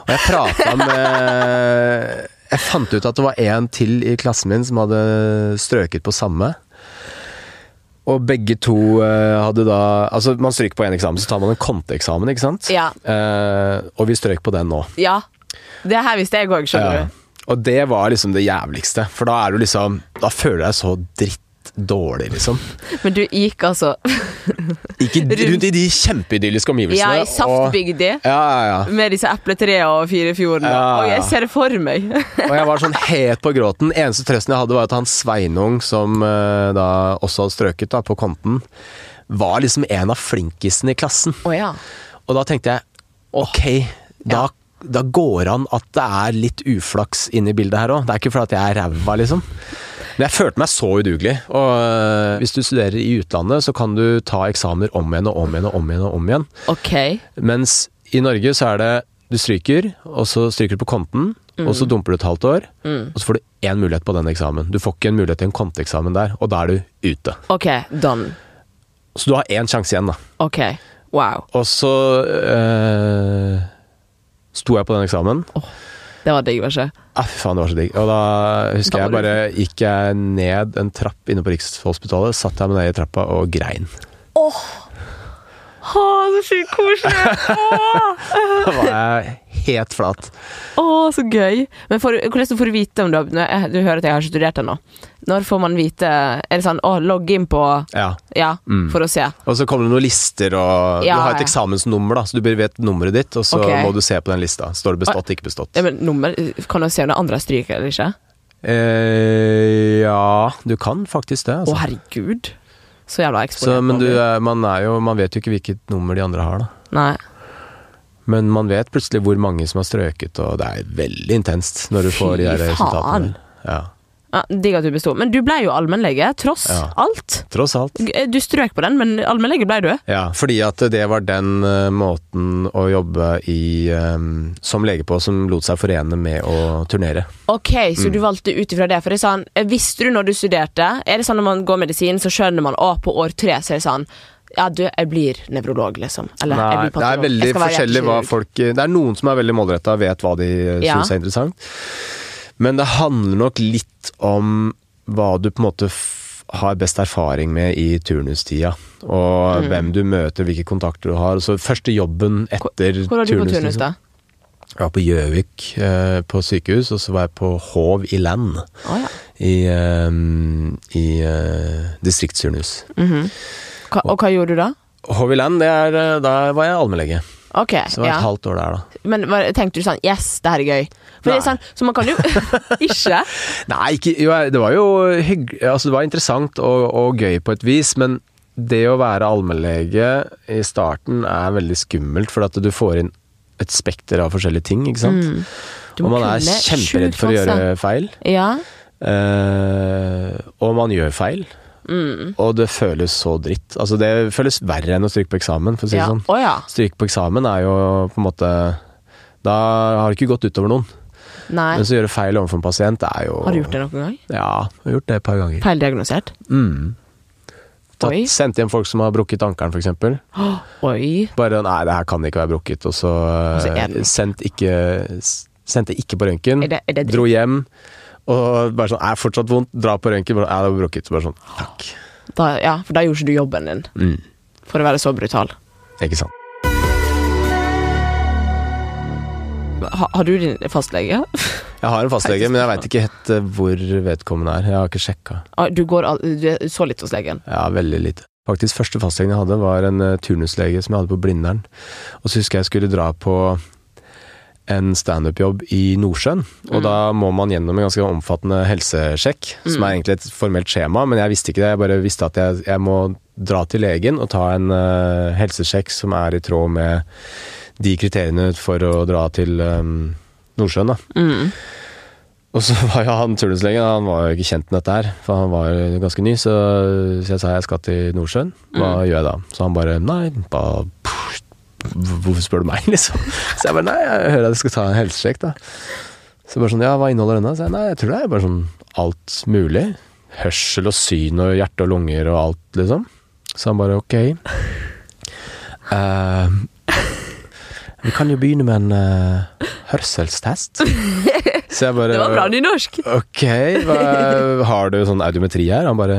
Og jeg prata med Jeg fant ut at det var en til i klassen min som hadde strøket på samme. Og begge to eh, hadde da Altså, man stryker på én eksamen, så tar man en konteeksamen, ikke sant?
Ja.
Eh, og vi strøk på den nå.
Ja. Det her visste jeg òg, skjønner
Ja.
du.
Og det var liksom det jævligste, for da er du liksom Da føler jeg deg så drittdårlig, liksom.
Men du gikk altså
Ikke rundt i de kjempeidylliske
Ja,
omgivelsene.
i saftbygda.
Og, ja, ja, ja.
Med disse epletrærne og firefjordene.
Ja,
Og
ja.
jeg ser det for meg.
Og jeg var sånn het på gråten. Eneste trøsten jeg hadde, var at han Sveinung, som eh, da også hadde strøket da, på konten, var liksom en av flinkisene i klassen.
Å ja.
Og da tenkte jeg ok, da, da går an at det er litt uflaks inn i bildet her òg. Det er ikke fordi at jeg er ræva, liksom. Men jeg følte meg så udugelig. Og øh, hvis du studerer i utlandet, så kan du ta eksamener om igjen og om igjen og om igjen. og om igjen.
OK.
Mens i Norge så er det du stryker, og så stryker du på konten, og så dumper du et halvt år, og så får du én mulighet på den eksamen. Du får ikke en mulighet til en konteeksamen der, og da er du ute.
OK, done.
Så du har én sjanse igjen, da.
OK. Wow.
Og så øh, sto jeg på den eksamen.
Det var digg, var det ikke?
Ah, fy faen, det var så digg. Og da husker
Da
jeg
var du-
bare gikk jeg ned en trapp inne på Rikshospitalet, satt jeg meg ned i trappa og grein.
Å, så sykt koselig!
Da var jeg helt flat.
Å, så gøy. Men får, du- hvordan får du vite om du har nå- eh, Du hører at jeg har ikke studert ennå. Når får man vite Er det sånn å, logg inn på
Ja.
Ja, for å se.
Og så kommer det noen lister, og
Ja,
du har
ja.
et eksamensnummer, da, så du bør vet nummeret ditt, og så
Ok.
må du se på den lista. Står det bestått, ikke bestått?
Ja, men nummer Kan du se om det andre stryker eller ikke?
Eh, ja, du kan faktisk det.
Å,
Altså.
herregud. Så jævla eksponert.
Så, men
man
du,
blir.
er- man, er jo, man vet jo ikke hvilket nummer de andre har, da.
Nei.
Men man vet plutselig hvor mange som har strøket, og det er veldig intenst når du får de
Fy
der resultatene.
faen.
Ja,
Ja, Digg at du besto. Men du ble jo allmennlege, tross
Ja.
alt.
tross alt.
G- eh, Du strøk på den, men allmennlege ble du.
Ja, fordi at det var den eh, måten å jobbe i eh, som lege på som lot seg forene med å turnere.
Ok,
Mm.
Så du valgte ut ifra det. For det er sånn, Visste du når du studerte Er det sånn Når man går medisin, så skjønner man å, på år tre så er det sånn Ja, du, jeg blir nevrolog, liksom. Eller jeg
Nei,
blir
det er
patolog.
veldig
Jeg skal være
forskjellig hva
hjertekirurg.
folk eh, Det er noen som er veldig målretta, vet hva de
Ja.
syns er interessant. Men det handler nok litt om hva du på en måte f har best erfaring med i turnustida. Og
Mm.
hvem du møter, hvilke kontakter du har. Så første jobben etter
Hvor var du på
liksom.
turnus, da?
Jeg var på Gjøvik eh, på sykehus, og så var jeg på Hov i Land
Å, ja.
i, eh, i eh, distriktsturnus.
Mm. Hva- og hva gjorde du da?
Hov i Land, det er, eh, der var jeg allmennlege.
Ok,
Så det var
ja.
et halvt år der, da.
Men var- tenkte du sånn Yes, det her er gøy. For det er
Nei.
sånn, så man kan jo Ikke?
Nei, ikke, jo, det var jo hygg, altså, det var interessant og, og gøy på et vis, men det å være allmennlege i starten er veldig skummelt, for at du får inn et spekter av forskjellige ting, ikke sant?
Mm, Du må
Og man er
kunne
kjemperedd
sjukt
for å
masse.
gjøre feil,
Ja.
eh, og man gjør feil.
Mm.
Og det føles så dritt. Altså, det føles verre enn å stryke på eksamen, for å si det
ja.
sånn.
Å ja.
Stryke på eksamen er jo på en måte Da har det ikke gått utover noen.
Nei.
Men så gjøre feil overfor en pasient er jo
Har du gjort det noen gang?
Ja, jeg har gjort det et par ganger.
Feildiagnosert?
Mm. tatt,
Oi.
sendt hjem folk som har brukket ankelen, f.eks.
Åh, Oi.
Bare 'nei, det her kan ikke være brukket', og så,
så er
eh,
den-
sendt ikke, s- sendte ikke på røntgen.
Altså, Er det- er det dritt?
Mm. Dro hjem. Og bare sånn 'er fortsatt vondt', dra på røntgen. Bare, 'er det var brukket'. Så bare sånn takk.
Da, ja, for da gjorde ikke du jobben din,
Mm.
for å være så brutal.
Ikke sant.
Ha, har du din fastlege?
Jeg har en fastlege, men jeg veit ikke helt eh, hvor vedkommende er. Jeg har ikke sjekka.
Ah, Du går al- du er så litt hos legen.
Ja, veldig lite. Faktisk første fastlegen jeg hadde var en eh, turnuslege som jeg hadde på Blindern. Og så husker jeg jeg skulle dra på en standup-jobb i Nordsjøen. Og da må man gjennom en ganske omfattende helsesjekk, som er egentlig et formelt skjema, men jeg visste ikke det. Jeg bare visste at jeg, jeg må dra til legen og ta en eh, helsesjekk som er i tråd med de kriteriene for å dra til eh, Nordsjøen, da.
Mm.
Og så var jo han turnuslegen, han var jo ikke kjent med dette her, for han var jo ganske ny, så, så jeg sa jeg skal til Nordsjøen, hva
Mm.
gjør jeg da? Så han bare, nei, bare, pff, hvorfor spør du meg, liksom? Så jeg bare, nei, jeg hører at jeg skal ta en helsesjekk da. Så bare sånn, ja, hva inneholder denne? Så jeg, nei, jeg tror det er bare sånn alt mulig, hørsel og syn og hjerte og lunger og alt, liksom. Så han bare, ok. Eh, vi kan jo begynne med en eh, hørselstest. Så jeg bare,
Det var bra nynorsk!
Ok, hva, har du sånn audiometri her? Han bare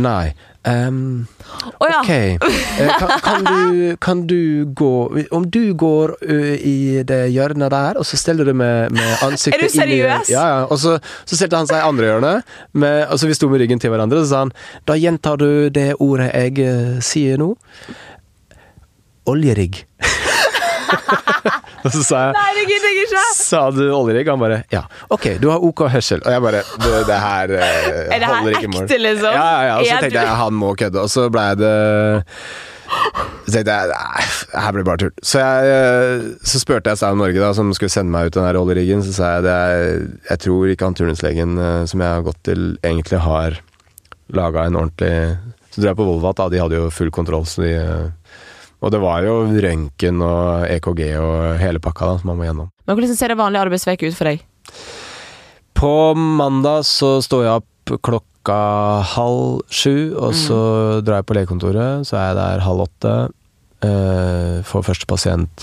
Nei. ehm,
Å ja.
ok, eh, kan, kan, du, kan du gå Om du går ø, i det hjørnet der, og så steller du med, med ansiktet
Er du
inn i-
seriøs?
Ja, ja. Og så, så stelte han seg i andre hjørnet, med, og så vi sto med ryggen til hverandre, og så sa han Da gjentar du det ordet jeg eh, sier nå. Oljerigg. og så sa jeg
Nei, det gidder jeg ikke!
Sa du oljerigg? Han bare ja. Ok, du har ok hørsel. Og jeg bare Det, det her eh,
Er det her
holder ikke mål.
ekte, liksom?
Ja, ja, ja. Og så
Er
tenkte
du-
jeg han må kødde, og så blei det Så tenkte jeg nei, her blir det bare tull. Så, jeg, eh, så spurte jeg Sound Norge, da, som skulle sende meg ut den her oljeriggen, så sa jeg det er, jeg tror ikke han turnuslegen eh, som jeg har gått til, egentlig har laga en ordentlig Så dro jeg på Volvat, da, de hadde jo full kontroll, så de eh, Og det var jo røntgen og EKG og hele pakka da, som man må gjennom.
Men hvordan ser liksom det vanlig arbeidsveke ut for deg?
På mandag så står jeg opp klokka halv sju, og så drar jeg på legekontoret. Så er jeg der halv åtte. eh, får første pasient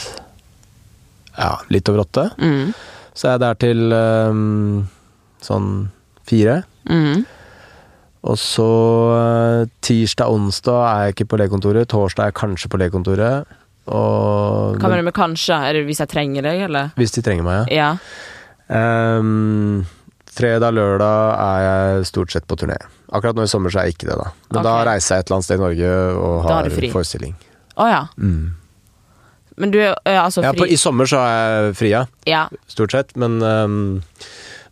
ja, litt over åtte.
Mm.
Så er jeg der til eh, sånn fire.
Mm.
Og så eh, tirsdag, onsdag er jeg ikke på legekontoret. Torsdag er jeg kanskje på legekontoret. Og
Hva mener du med kanskje? Er det hvis jeg trenger deg, eller?
hvis de trenger meg, ja.
Ja.
Ehm, fredag, lørdag er jeg stort sett på turné. Akkurat nå i sommer så er jeg ikke det, da. Men da
Ok.
reiser jeg et eller annet sted i Norge og
Da har
har
du fri.
forestilling.
Å ja. Men du er ø, altså
Ja, på,
fri
I sommer så er jeg fri, ja.
Ja.
Stort sett. Men, ehm,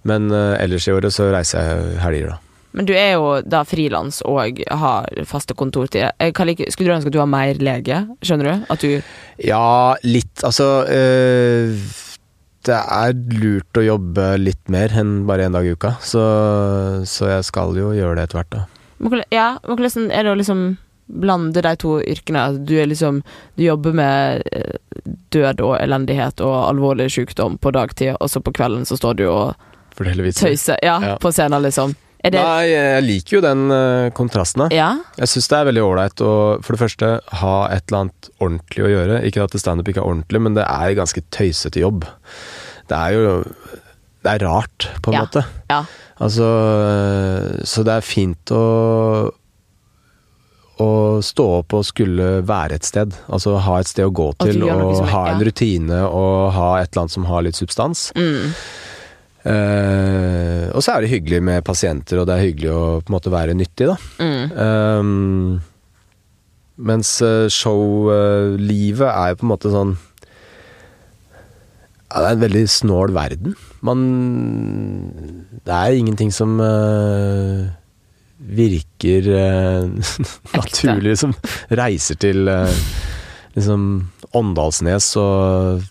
men eh, ellers i året så reiser jeg helger, da.
Men du er jo da frilans og har faste kontortider. Eh, hva liker- Skulle du ønske at du var mer lege? Skjønner du? At du
Ja, litt Altså eh, Det er lurt å jobbe litt mer enn bare én dag i uka. Så, så jeg skal jo gjøre det etter hvert, da.
Men hvordan- Ja, men hvordan er det å liksom blande de to yrkene? At du er liksom Du jobber med eh, død og elendighet og alvorlig sykdom på dagtid, og så på kvelden så står du og
Fortelle vitser.
tøyser ja,
Ja.
på scenen, liksom. Er det
Nei, jeg liker jo den eh, kontrasten, da.
Ja?
Jeg syns det er veldig ålreit å for det første ha et eller annet ordentlig å gjøre. Ikke at standup ikke er ordentlig, men det er ganske tøysete jobb. Det er jo Det er rart, på en
Ja.
måte.
Ja.
Altså øh, Så det er fint å å stå opp og skulle være et sted. Altså ha et sted å gå
At du
til,
gjør noe
og
som er-
ha en
ja.
rutine og ha et eller annet som har litt substans.
Mm.
Eh, og så er det hyggelig med pasienter, og det er hyggelig å på en måte være nyttig, da.
Mm.
Um, mens eh, showlivet er jo på en måte sånn ja, Det er en veldig snål verden. Man Det er ingenting som eh, virker eh, naturlig, som reiser til eh, liksom Åndalsnes, og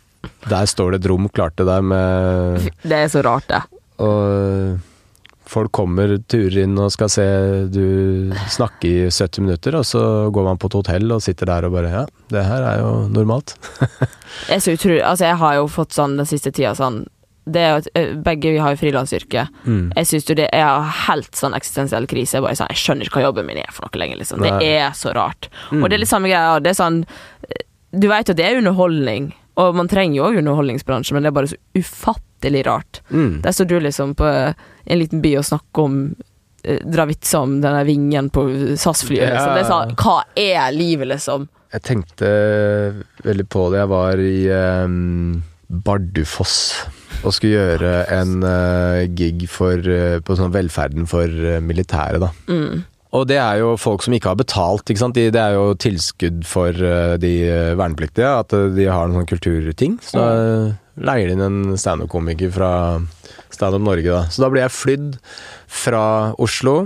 der står det et rom klart til deg med
Det er så rart, det.
og folk kommer, turer inn og skal se du snakke i 70 minutter, og så går man på et hotell og sitter der og bare Ja, det her er jo normalt.
Det er så utrolig Altså, jeg har jo fått sånn den siste tida sånn det er jo at ø, Begge vi har jo frilansyrke. Jeg syns jo det er helt sånn eksistensiell krise. Jeg, bare, sånn, jeg skjønner ikke hva jobben min er for noe lenger. Liksom. Det
Nei.
er så rart. Og det er litt samme greia. Det er sånn Du veit at det er underholdning, og man trenger jo òg underholdningsbransjen, men det er bare så ufattelig rart. Der står du liksom på en liten by og snakker om eh, Dra vitser om denne vingen på SAS-flyet. Liksom. Det er sånn, hva er livet, liksom?
Jeg tenkte veldig på det. Jeg var i eh, Bardufoss og skulle gjøre en eh, gig for, eh, på sånn velferden for eh, militæret, da.
Mm.
Og det er jo folk som ikke har betalt, ikke sant? De, det er jo tilskudd for eh, de eh, vernepliktige, at eh, de har en sånn kulturting. Så da eh, leier de inn en standup-komiker fra Standup Norge, da. Så da ble jeg flydd fra Oslo.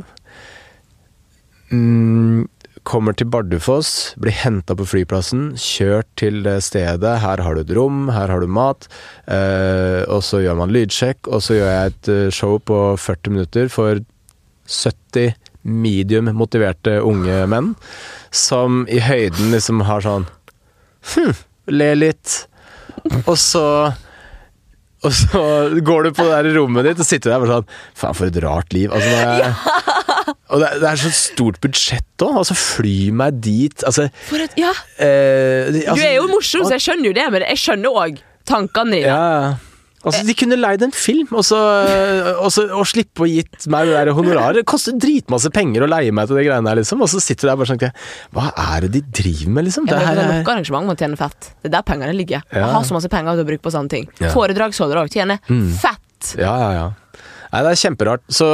Mm, kommer til Bardufoss, blir henta på flyplassen, kjørt til det stedet. Her har du et rom, her har du mat. Eh, og så gjør man lydsjekk, og så gjør jeg et eh, show på 40 minutter for 70 medium motiverte unge menn, som i høyden liksom har sånn Hm, le litt. Og så og så går du på det der rommet ditt og sitter der bare sånn Faen, for et rart liv. Altså, når jeg, og det, er- det er så stort budsjett òg. Altså, fly meg dit. Altså,
For et, ja
eh, de- altså
Du er jo morsom, så jeg skjønner jo det, men jeg skjønner òg tankene dine.
ja, ja. Altså, De kunne leid en film og, så, og, så, og slippe å gitt meg det der honoraret. Det koster dritmasse penger å leie meg til de greiene der, liksom. Og så sitter du der bare sånn Hva er det de driver med, liksom?
Ja,
Det
men
her
det er
er
nok arrangement man tjener fett. Det er der pengene ligger.
Ja.
Man har så masse penger til å bruke på sånne ting.
Ja. Mm.
Foredragsholdere òg tjener fett.
Ja, ja, ja. Nei, det er kjemperart. Så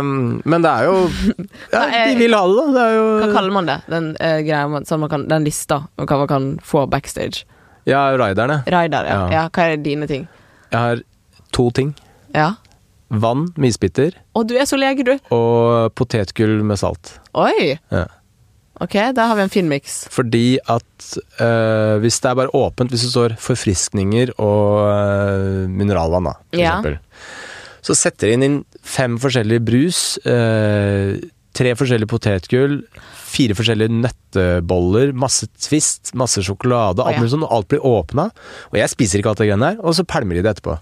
um, Men det er jo ja,
Hva er-
De vil ha det, da. Det er
Hva
jo
kaller man det? Den, eh, greia man, sånn man kan, den lista om hva man kan få backstage.
Ja, riderne.
Raider, ja.
Ja.
ja. Hva er dine ting?
Jeg har to ting.
Ja.
Vann med isbiter
Å, du er så lege, du.
og potetgull med salt.
Oi!
Ja.
Å Ok, da har vi en fin miks.
Fordi at eh, hvis det er bare åpent, hvis det står forfriskninger og eh, mineralvann, da, for
Ja.
eksempel, så setter de inn fem forskjellige brus, eh, tre forskjellige potetgull, fire forskjellige nøtteboller, masse Twist, masse sjokolade,
Å,
alt
ja.
mulig sånn, og alt blir åpna. Og jeg spiser ikke alt det greiene der, og så pælmer de det etterpå.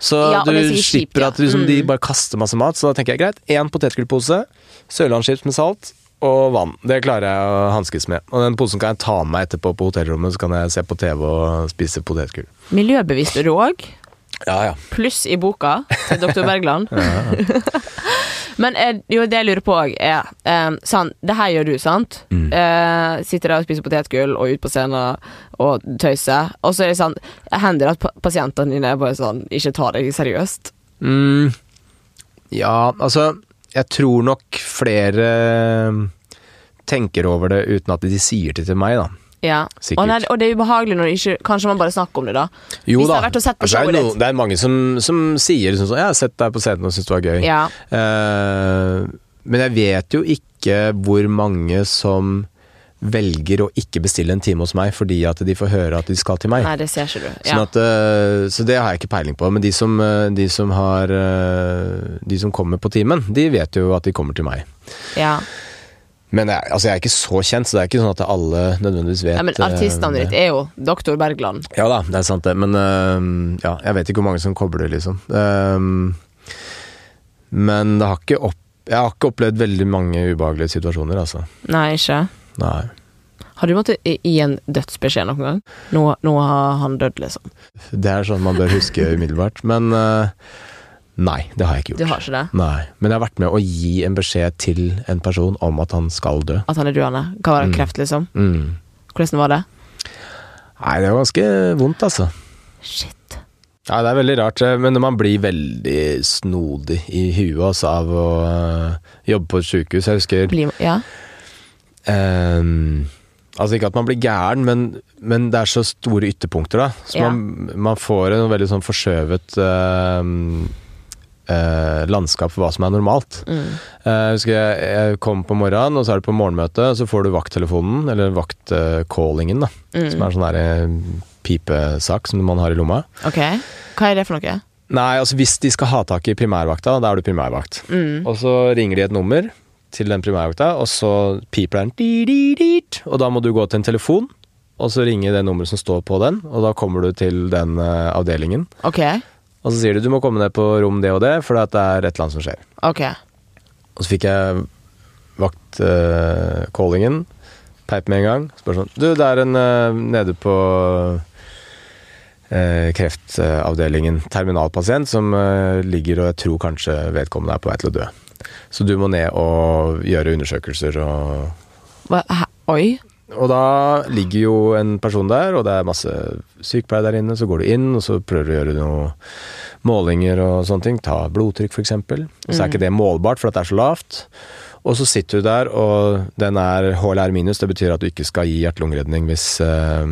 Så
Ja, og
du
det er sikkert kjipt,
slipper
ja. Mm.
at liksom, de bare kaster masse mat, så da tenker jeg greit, én potetgullpose, sørlandschips med salt og vann. Det klarer jeg å hanskes med. Og den posen kan jeg ta med meg etterpå på hotellrommet, så kan jeg se på TV og spise potetgull.
Miljøbevisst er du òg.
Ja, ja.
Pluss i boka til dr. Bergland. Men eh, jo, det jeg lurer på òg, er eh, sånn, Det her gjør du, sant?
Mm.
Eh, sitter der og spiser potetgull og ut på scenen og tøyser. Og så er det sånn Hender det at pa- pasientene dine bare sånn ikke tar deg seriøst?
Mm, ja, altså Jeg tror nok flere tenker over det uten at de sier det til meg, da.
Ja.
Sikkert.
Og, nei, og det er ubehagelig når det ikke Kanskje man bare snakker om det, da.
Jo
Hvis
da.
jeg har vært og sett på
Altså, det,
showet
er
ditt.
det er mange som, som sier liksom, sånn, 'Jeg har sett deg på scenen og syntes det var gøy'.
Ja.
Eh, men jeg vet jo ikke hvor mange som velger å ikke bestille en time hos meg fordi at de får høre at de skal til meg.
Nei, det ser ikke du. Ja.
Sånn at, eh, så det har jeg ikke peiling på. Men de som, eh, de som, har, eh, de som kommer på timen, de vet jo at de kommer til meg.
ja.
Men jeg, altså jeg er ikke så kjent, så det er ikke sånn at alle nødvendigvis vet
ja, men
eh,
artistnavnet
det.
ditt er jo Dr. Bergland.
Ja da, det er sant det. Men øhm, ja, jeg vet ikke hvor mange som kobler, liksom. Øhm, men det har ikke opp, jeg har ikke opplevd veldig mange ubehagelige situasjoner, altså.
Nei, ikke?
Nei.
Har du måttet i- gi en dødsbeskjed noen gang? Nå, nå har han dødd, liksom.
Det er sånn man bør huske umiddelbart. Men øh, nei, det har jeg ikke gjort.
Du har ikke det?
Nei. Men jeg har vært med å gi en beskjed til en person om at han skal dø.
At han er døende? Kan være kreft, liksom?
Mm.
Hvordan var det?
Nei, det var ganske vondt, altså.
Shit.
Ja, det er veldig rart, eh, men man blir veldig snodig i huet altså, av å øh, jobbe på et sjukehus. Jeg husker
Bli, ja.
Ehm, altså ikke at man blir gæren, men, men det er så store ytterpunkter, da. Så
Ja.
man, man får en veldig sånn forskjøvet ehm, eh, landskap for hva som er normalt.
Mm.
Eh, jeg husker jeg, jeg kom på morgenen, og så er det på morgenmøte, og så får du vakttelefonen, eller vaktcallingen, da. Som
Mm.
er en sånn der, eh, pipesak som man har i lomma.
Ok. Hva er det for noe?
Nei, altså hvis de skal ha tak i primærvakta, da er du primærvakt.
Mm.
Og så ringer de et nummer til den primærvakta, og så piper den. Di, di, dit. Og da må du gå til en telefon, og så ringe det nummeret som står på den, og da kommer du til den eh, avdelingen.
Ok.
Og så sier de du må komme ned på rom det og det, for at det er et eller annet som skjer.
Ok.
Og så fikk jeg vaktcallingen, peip med en gang. Spør sånn Du, det er en eh, nede på eh, kreftavdelingen, terminalpasient, som eh, ligger og jeg tror kanskje vedkommende er på vei til å dø. Så du må ned og gjøre undersøkelser og
Hva, hæ? Oi.
og da ligger jo en person der, og det er masse sykepleiere der inne. Så går du inn, og så prøver du å gjøre noen målinger og sånne ting. Ta blodtrykk, f.eks. Og så er ikke det målbart, for at det er så lavt. Og så sitter du der, og den er HLR minus. Det betyr at du ikke skal gi hjerte-lungeredning hvis, eh,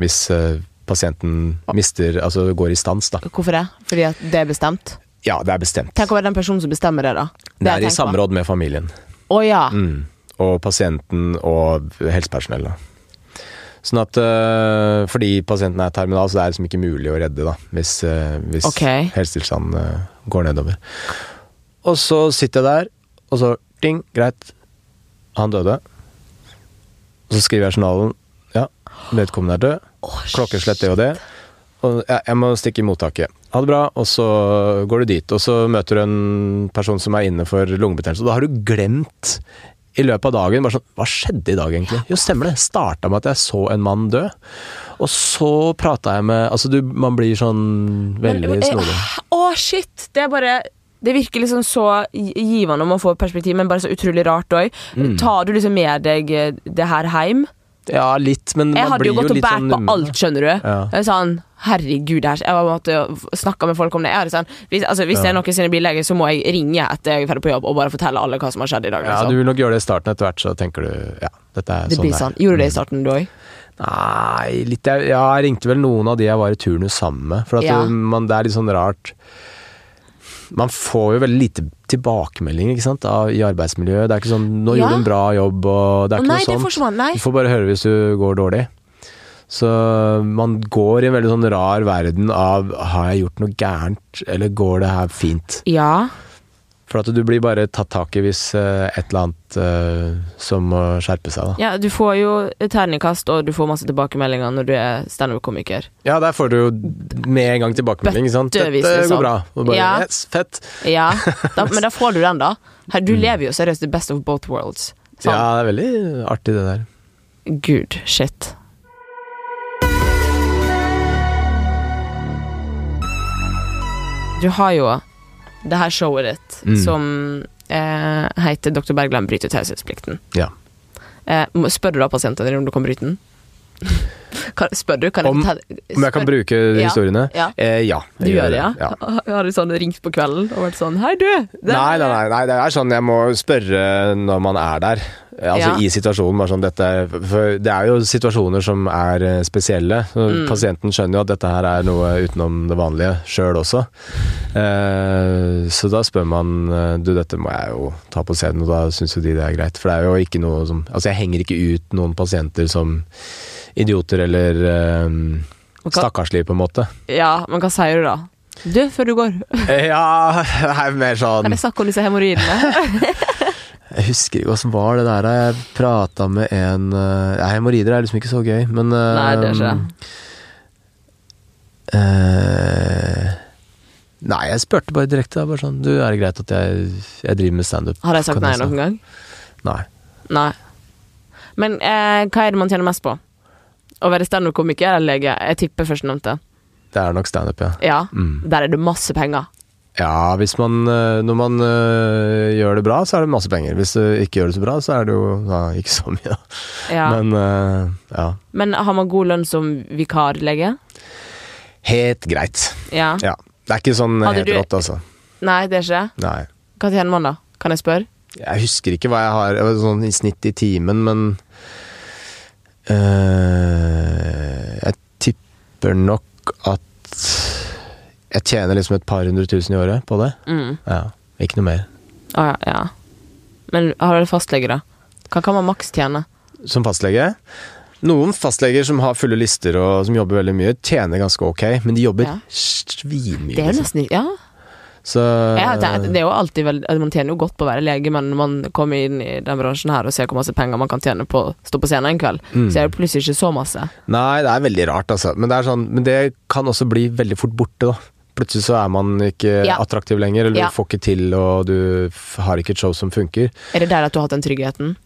hvis eh, pasienten mister Altså går i stans, da.
Hvorfor det? Fordi at det er bestemt?
Ja, det er bestemt.
Tenk å være den personen som bestemmer det, da.
Det er i
jeg tenker på.
samråd med familien.
Å ja.
Mm. Og pasienten og helsepersonell. Da. Sånn at øh, fordi pasienten er terminal, så det er liksom ikke mulig å redde da, hvis, øh, hvis
Ok.
helsetilstanden øh, går nedover. Og så sitter jeg der, og så ding, greit, han døde. Og så skriver jeg i journalen ja, vedkommende er død. Klokkeslett det og det. Og ja, jeg må stikke i mottaket. Ha det bra. Og så går du dit, og så møter du en person som er inne for lungebetennelse. Og da har du glemt i løpet av dagen bare sånn, Hva skjedde i dag, egentlig? Jo, stemmer det. Starta med at jeg så en mann dø. Og så prata jeg med Altså, du, man blir sånn veldig
Men, eh,
snodig.
Å, shit! Det er bare det virker liksom så gi- givende om man får perspektiv, men bare så utrolig rart òg.
Mm.
Tar du liksom med deg eh, det her hjem?
Ja, litt, men
Jeg
man
hadde
blir
jo
jo
gått og
litt
båret
sånn
på alt, skjønner du.
Ja.
Jeg er sånn, herregud, det her Jeg måtte snakke med folk om det. Jeg hadde sånn, hvis altså, hvis det er noen sine billeger, så må jeg ringe etter jeg er ferdig på jobb og bare fortelle alle hva som har skjedd i dag.
Ja,
Liksom.
du vil nok gjøre det i starten, etter hvert så tenker du ja, dette er
det
sånn
blir
det er.
sånn. Gjorde du det i starten, du òg?
Nei, litt jeg, ja, jeg ringte vel noen av de jeg var i turnus sammen med. For at eh,
Ja.
det, man, det er litt sånn rart Man får jo veldig lite tilbakemelding ikke sant? Av, i arbeidsmiljøet. Det er ikke sånn 'nå
Ja.
gjorde du en bra jobb', og det er
Å
ikke
nei, det
noe
får
sånt.
ikke man. Nei.
Du får bare høre hvis du går dårlig. Så man går i en veldig sånn rar verden av 'har jeg gjort noe gærent', eller 'går det her fint'?
Ja.
For at du blir bare tatt tak i hvis eh, et eller annet eh, som må skjerpe seg, da.
ja. Du får jo terningkast, og du får masse tilbakemeldinger når du er standup-komiker.
Ja, der får du jo med en gang tilbakemelding. ikke sant?
Bøttevis,
Dette
liksom.
går bra. Og bare,
Ja.
yes, fett.
Ja. Da, men da får du den, da. Her,
Mm.
du lever jo seriøst the best of both worlds. Sånn.
Ja, det er veldig artig det der.
Gud, shit. Du har jo det her showet ditt
Mm.
som eh, heter 'Dr. Bergland bryter taushetsplikten'.
Ja.
Eh, må- spør du da pasientene dine om du kan bryte den? Kan, spør du? Kan
Om-
jeg ta,
Om jeg kan bruke de
Ja.
historiene?
Ja.
Eh, ja. jeg
Du gjør det, ja?
Ja.
Har du sånn ringt på kvelden og vært sånn 'Hei, du!' det-
Nei, nei, nei, nei, det er sånn jeg må spørre når man er der. Altså
Ja.
i situasjonen. Bare sånn, dette, er- for det er jo situasjoner som er eh, spesielle.
Mm.
Så Pasienten skjønner jo at dette her er noe utenom det vanlige sjøl også. Eh, så da spør man eh, Du, dette må jeg jo ta på scenen, og da syns jo de det er greit. For det er jo ikke noe som Altså jeg henger ikke ut noen pasienter som idioter eller eh,
Og hva-
stakkarslige, på en måte.
Ja, men hva sier du da? Du, før du går,
Eh, Ja, det er mer sånn
kan jeg snakke om disse hemoroidene?
Jeg husker ikke åssen var det der. Jeg prata med en eh, Nei, hemoroider er liksom ikke så gøy, men eh,
Nei, det er ikke det.
eh, Nei, jeg spurte bare direkte. da, Bare sånn Du, er det greit at jeg, jeg driver med standup?
Har jeg sagt
Kan
nei
jeg
noen
snakke?»
gang?
Nei.
Nei. Men eh, hva er det man tjener mest på? Å være standup-komiker eller lege? Jeg tipper førstnevnte.
Det er nok standup, ja.
Ja.
Mm.
Der er det masse penger.
Ja, hvis man eh, Når man eh, gjør det bra, så er det masse penger. Hvis du ikke gjør det så bra, så er det jo ja, ikke så mye, da.
Ja. Men,
Men eh, ja.
har man god lønn som vikarlege?
Helt greit.
Ja.
Ja. Det er ikke sånn
Hadde
helt
du-
rått, altså.
Nei, det er ikke det.
Nei.
Hva tjener man da? Kan jeg spørre?
Jeg husker ikke hva jeg har eh, sånn i snitt i timen, men eh, Jeg tipper nok at jeg tjener liksom et par hundre tusen i året på det.
Mm.
Ja, Ikke noe mer.
Å ja, ja. Men har du fastlege, da? Hva kan man maks tjene?
Som fastlege Noen fastleger som har fulle lister og som jobber veldig mye, tjener ganske ok, men de jobber
Ja.
svinmye.
Det er
liksom.
nesten Ja.
Så
Jeg, det, det er jo alltid veldig altså, Man tjener jo godt på å være lege, men når man kommer inn i den bransjen her og ser hvor masse penger man kan tjene på å stå på scenen en kveld, så er det plutselig ikke så masse.
Nei, det er veldig rart, altså. Men det, er sånn, men det kan også bli veldig fort borte, da. Plutselig så er man ikke
Ja.
attraktiv lenger, eller
Ja.
du får ikke til, og du f- har ikke et show som funker.
Er det der at du har hatt den tryggheten?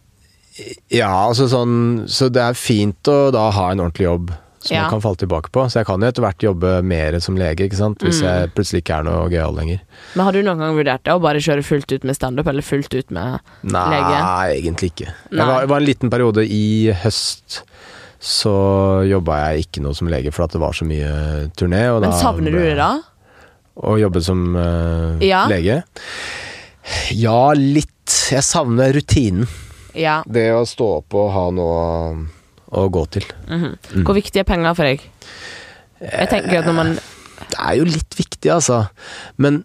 Ja, altså sånn Så det er fint å da ha en ordentlig jobb som
Ja.
man kan falle tilbake på. Så jeg kan jo etter hvert jobbe mer som lege, ikke sant.
Mm.
Hvis jeg plutselig ikke er noe gøyal lenger.
Men har du noen gang vurdert det, å bare kjøre fullt ut med standup, eller fullt ut med
Nei,
lege?
egentlig ikke.
Nei.
Jeg var, det var en liten periode i høst. Så jobba jeg ikke noe som lege, for at det var så mye turné. Og
Men
da
savner du
ble-
det da?
Å jobbe som eh,
Ja.
lege? Ja, litt. Jeg savner rutinen.
Ja.
Det å stå opp og ha noe eh, å gå til.
mhm. Hvor viktig er penger for deg? Jeg tenker at når man
Det er jo litt viktig, altså. Men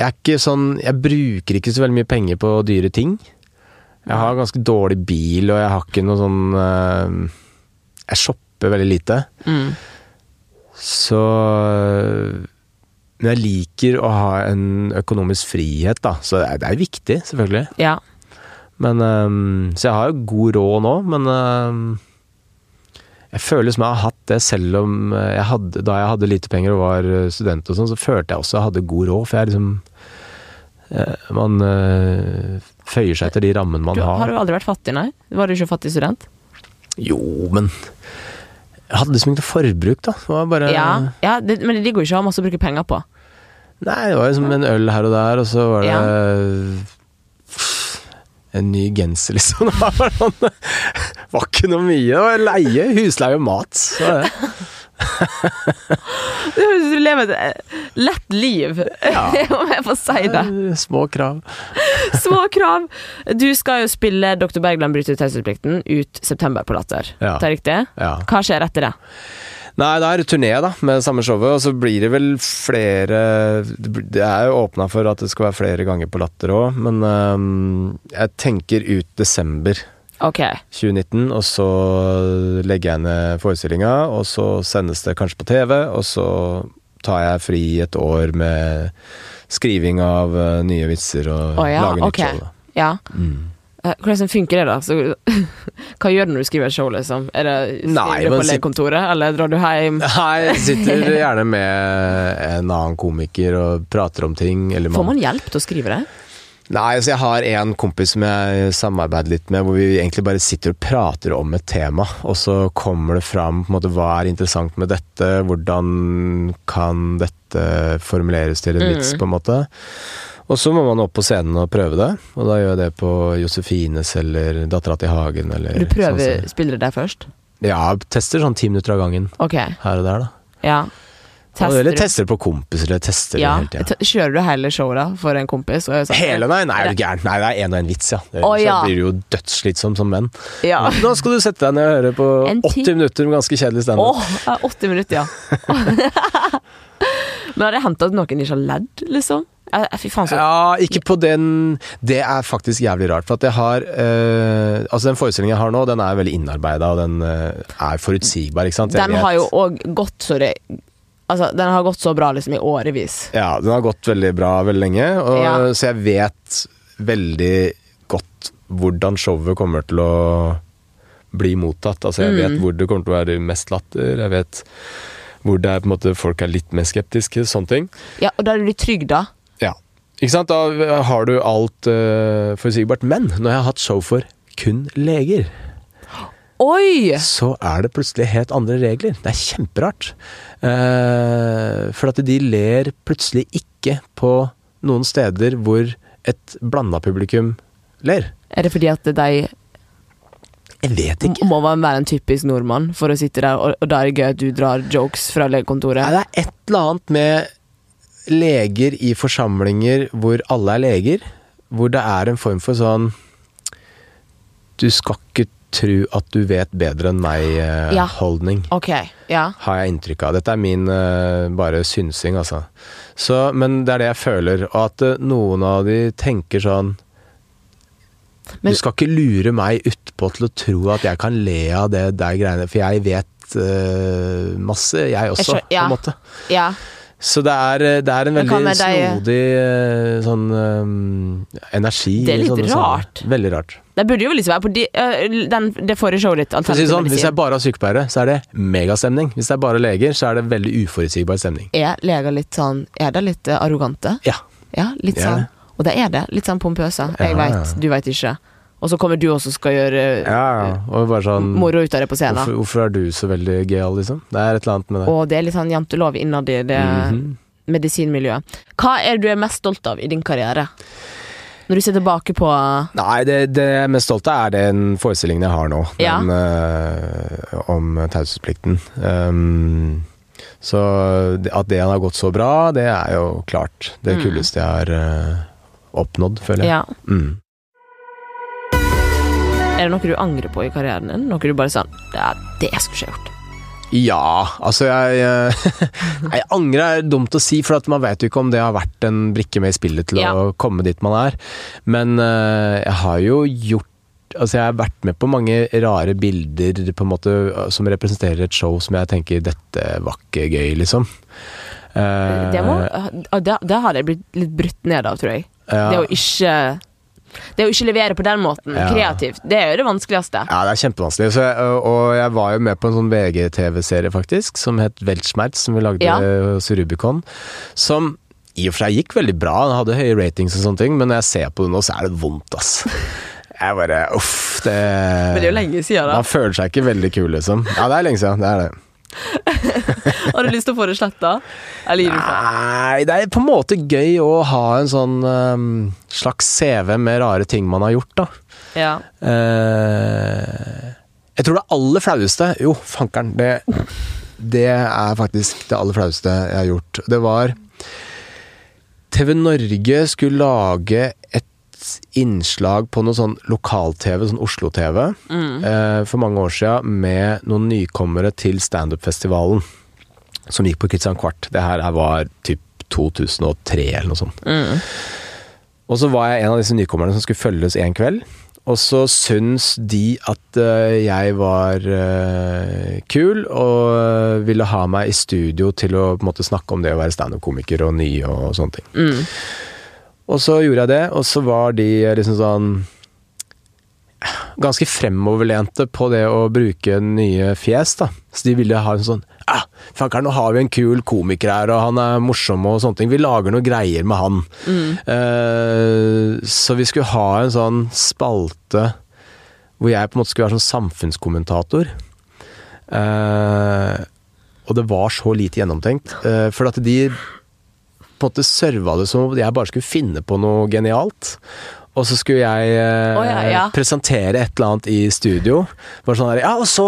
jeg er ikke sånn Jeg bruker ikke så veldig mye penger på dyre ting. Jeg har ganske dårlig bil, og jeg har ikke noe sånn eh, Jeg shopper veldig lite.
mm,
Så eh, Men jeg liker å ha en økonomisk frihet, da. Så det er, det er viktig, selvfølgelig.
Ja.
Men ehm, Så jeg har jo god råd nå, men ehm, jeg føler som jeg har hatt det selv om eh, jeg hadde, Da jeg hadde lite penger og var eh, student og sånn, så følte jeg også jeg hadde god råd, for jeg liksom eh, Man eh, føyer seg etter de rammene man
Du,
har.
har du aldri vært fattig, nei? Var du ikke fattig student?
Jo, men Jeg hadde liksom ikke noe forbruk, da. Det var bare
Ja, ja det, men det digger jo ikke å ha masse å bruke penger på.
Nei, det var liksom en øl her og der, og så var det En ny genser, liksom. Det var, bare sånn, det var ikke noe mye. Det var leie, husleie og mat. Så det,
Det høres ut som du lever et eh, lett liv, om jeg får si det.
små krav.
Små krav. Du skal jo spille Dr. Bergland bryter taushetsplikten ut september på Latter.
Ja.
Tar jeg riktig?
Ja.
Hva skjer etter det?
Nei, det er turné da, med samme showet, og så blir det vel flere Det bl- det er jo åpna for at det skal være flere ganger på Latter òg, men øhm, jeg tenker ut desember
Ok.
2019, og så legger jeg ned forestillinga, og så sendes det kanskje på TV, og så tar jeg fri et år med skriving av øh, nye vitser og
Å ja,
lager nytt
ok.
show. Da.
Ja.
Mm.
Eh, Hvordan funker det, da? Så, hva gjør du når du skriver et show, liksom? Er det,
Nei,
skriver du
men
på
si-
legekontoret, eller drar du hjem?
Nei, jeg sitter gjerne med en annen komiker og prater om ting. Eller
Får man hjelp til å skrive det?
Nei, altså jeg har en kompis som jeg samarbeider litt med, hvor vi egentlig bare sitter og prater om et tema, og så kommer det fram på en måte, hva er interessant med dette, hvordan kan dette formuleres til en
Mm.
vits, på en måte. Og så må man opp på scenen og prøve det, og da gjør jeg det på Josefines eller Dattera til hagen eller
Du prøver,
sånn
spiller du det først?
som- Ja, tester sånn ti minutter av gangen
Ok,
her og der, da.
ja.
Tester eller
du-
tester på kompiser, eller tester
ja.
hele tida.
T- Kjører du hele showet da, for en kompis? og er sånn-
Hele, nei, nei, er du gæren. Nei, det er én og én vits, ja. Det,
Å, ja.
Så blir du jo dødsslitsom som venn.
Ja.
Nå skal du sette deg ned og høre på
En ti-
80 minutter med ganske kjedelig standup.
Åh, ja, 80 minutter, ja. Men har det hendt at noen ikke har ledd, liksom? Eh, Fy faen, så
Ja, ikke på den Det er faktisk jævlig rart. For at jeg har eh, Altså, den forestillingen jeg har nå, den er veldig innarbeida, og den eh, er forutsigbar, ikke sant? Jeg
Den
vet-
har jo òg gått så det Altså, den har gått så bra liksom i årevis.
Ja, den har gått veldig bra veldig lenge, og,
Ja.
så jeg vet veldig godt hvordan showet kommer til å bli mottatt. Altså, jeg
Mm.
vet hvor det kommer til å være mest latter, jeg vet hvor det er, på en måte, folk er litt mer skeptiske, sånne ting.
Ja, og da er du litt trygg, da.
Ja. Ikke sant? Da har du alt eh, forutsigbart. Men når jeg har hatt show for kun leger,
Oi!
så er det plutselig helt andre regler. Det er kjemperart. Eh, for at de ler plutselig ikke på noen steder hvor et blanda publikum ler.
Er det fordi at de
Jeg vet ikke.
må man være en typisk nordmann for å sitte der, og, og da er det gøy at du drar jokes fra
Nei,
legekontoret?
det er et eller annet med leger i forsamlinger hvor alle er leger, hvor det er en form for sånn Du skal ikke tro at du vet bedre enn
Ja.
meg-holdning.
Ok, ja.
har jeg inntrykk av. Dette er min eh, bare synsing, altså. Så, men det er det jeg føler. Og at eh, noen av de tenker sånn
Men-
Du skal ikke lure meg utpå til å tro at jeg kan le av det der greiene, for jeg vet eh, masse, jeg også,
skjø-
på
ja.
en måte.
ja.
Så det er, eh, det er en
Men hva
veldig
med deg-
snodig eh, sånn eh, energi
Det er
i
litt
sånne
rart.
sammenhenger. Veldig rart.
Det burde jo liksom være på de, eh, den, det forrige showet ditt,
For å si det
alternativ
sånn, hvis jeg
medisin.
bare har sykepleiere, så er det megastemning. Hvis det er bare leger, så er det veldig uforutsigbar stemning.
Er leger litt sånn Er de litt eh, arrogante?
Ja.
Ja, litt
Ja.
sånn. Og det er det. Litt sånn pompøse.
Ja.
Jeg veit, du veit ikke. Og så kommer du også og skal gjøre eh,
Ja, ja. Og bare sånn
moro ut av det på scenen.
hvorfor, hvorfor er du så veldig gøyal, liksom? Det er et eller annet med det.
Og det er litt sånn jantelov innad i det
Mhm.
medisinmiljøet. Hva er det du er mest stolt av i din karriere? Når du ser tilbake på
Nei, det, det jeg er mest stolt av, er den forestillingen jeg har nå.
Ja.
Den eh, om taushetsplikten. Um, så det- at det har gått så bra, det er jo klart det
Mm.
kuleste jeg har eh, oppnådd, føler jeg.
ja.
Mm.
Er det noe du angrer på i karrieren din? Noe du bare sånn Ja, det skulle ikke jeg gjort.
Ja, altså jeg eh, Nei, angre er dumt å si, for at man vet jo ikke om det har vært en brikke med i spillet til
Ja.
å komme dit man er. Men eh, jeg har jo gjort Altså jeg har vært med på mange rare bilder på en måte, som representerer et show som jeg tenker 'dette var ikke gøy', liksom. Eh,
Det, må, ah, ja, det, det hadde jeg blitt litt brutt ned av, tror jeg.
ja.
Det å ikke Det å ikke levere på den måten,
Ja.
kreativt, det er jo det vanskeligste.
Ja, det er kjempevanskelig. Så jeg, og- og jeg var jo med på en sånn VGTV-serie faktisk, som het Weltschmerz, som vi lagde
Ja.
hos Rubicon. Som i og for seg gikk veldig bra, den hadde høye ratings og sånne ting, men når jeg ser på det nå, så er det vondt, ass. Jeg bare uff, det
Men det er jo lenge siden, da.
Man føler seg ikke veldig kul, liksom. Ja, det er lenge siden. Det er det.
Har du lyst til å få det sletta? Eller gir du faen?
Nei, det er på en måte gøy å ha en sånn øhm, slags CV med rare ting man har gjort, da.
Ja.
Eh, jeg tror det aller flaueste Jo, fankeren. Det, det er faktisk det aller flaueste jeg har gjort. Det var TV Norge skulle lage et et innslag på noe sånn lokal-TV, sånn Oslo-TV, eh, for mange år siden med noen nykommere til standup-festivalen som gikk på Kristian Kvart. Det her her var typ 2003 eller noe sånt. Og så var jeg en av disse nykommerne som skulle følges en kveld. Og så syns de at eh, jeg var eh, kul, og eh, ville ha meg i studio til å på en måte, snakke om det å være standup-komiker og nye og sånne ting. Og så gjorde jeg det, og så var de liksom sånn Ganske fremoverlente på det å bruke nye fjes, da. Så de ville ha en sånn ah, Fankeren, nå har vi en kul komiker her, og han er morsom og sånne ting. Vi lager noe greier med han. Eh, så vi skulle ha en sånn spalte hvor jeg på en måte skulle være sånn samfunnskommentator. Eh, og det var så lite gjennomtenkt. eh, for at de på en måte serva det som om jeg bare skulle finne på noe genialt. Og så skulle jeg eh,
Å, ja, ja.
presentere et eller annet i studio. Bare sånn her, ja, og så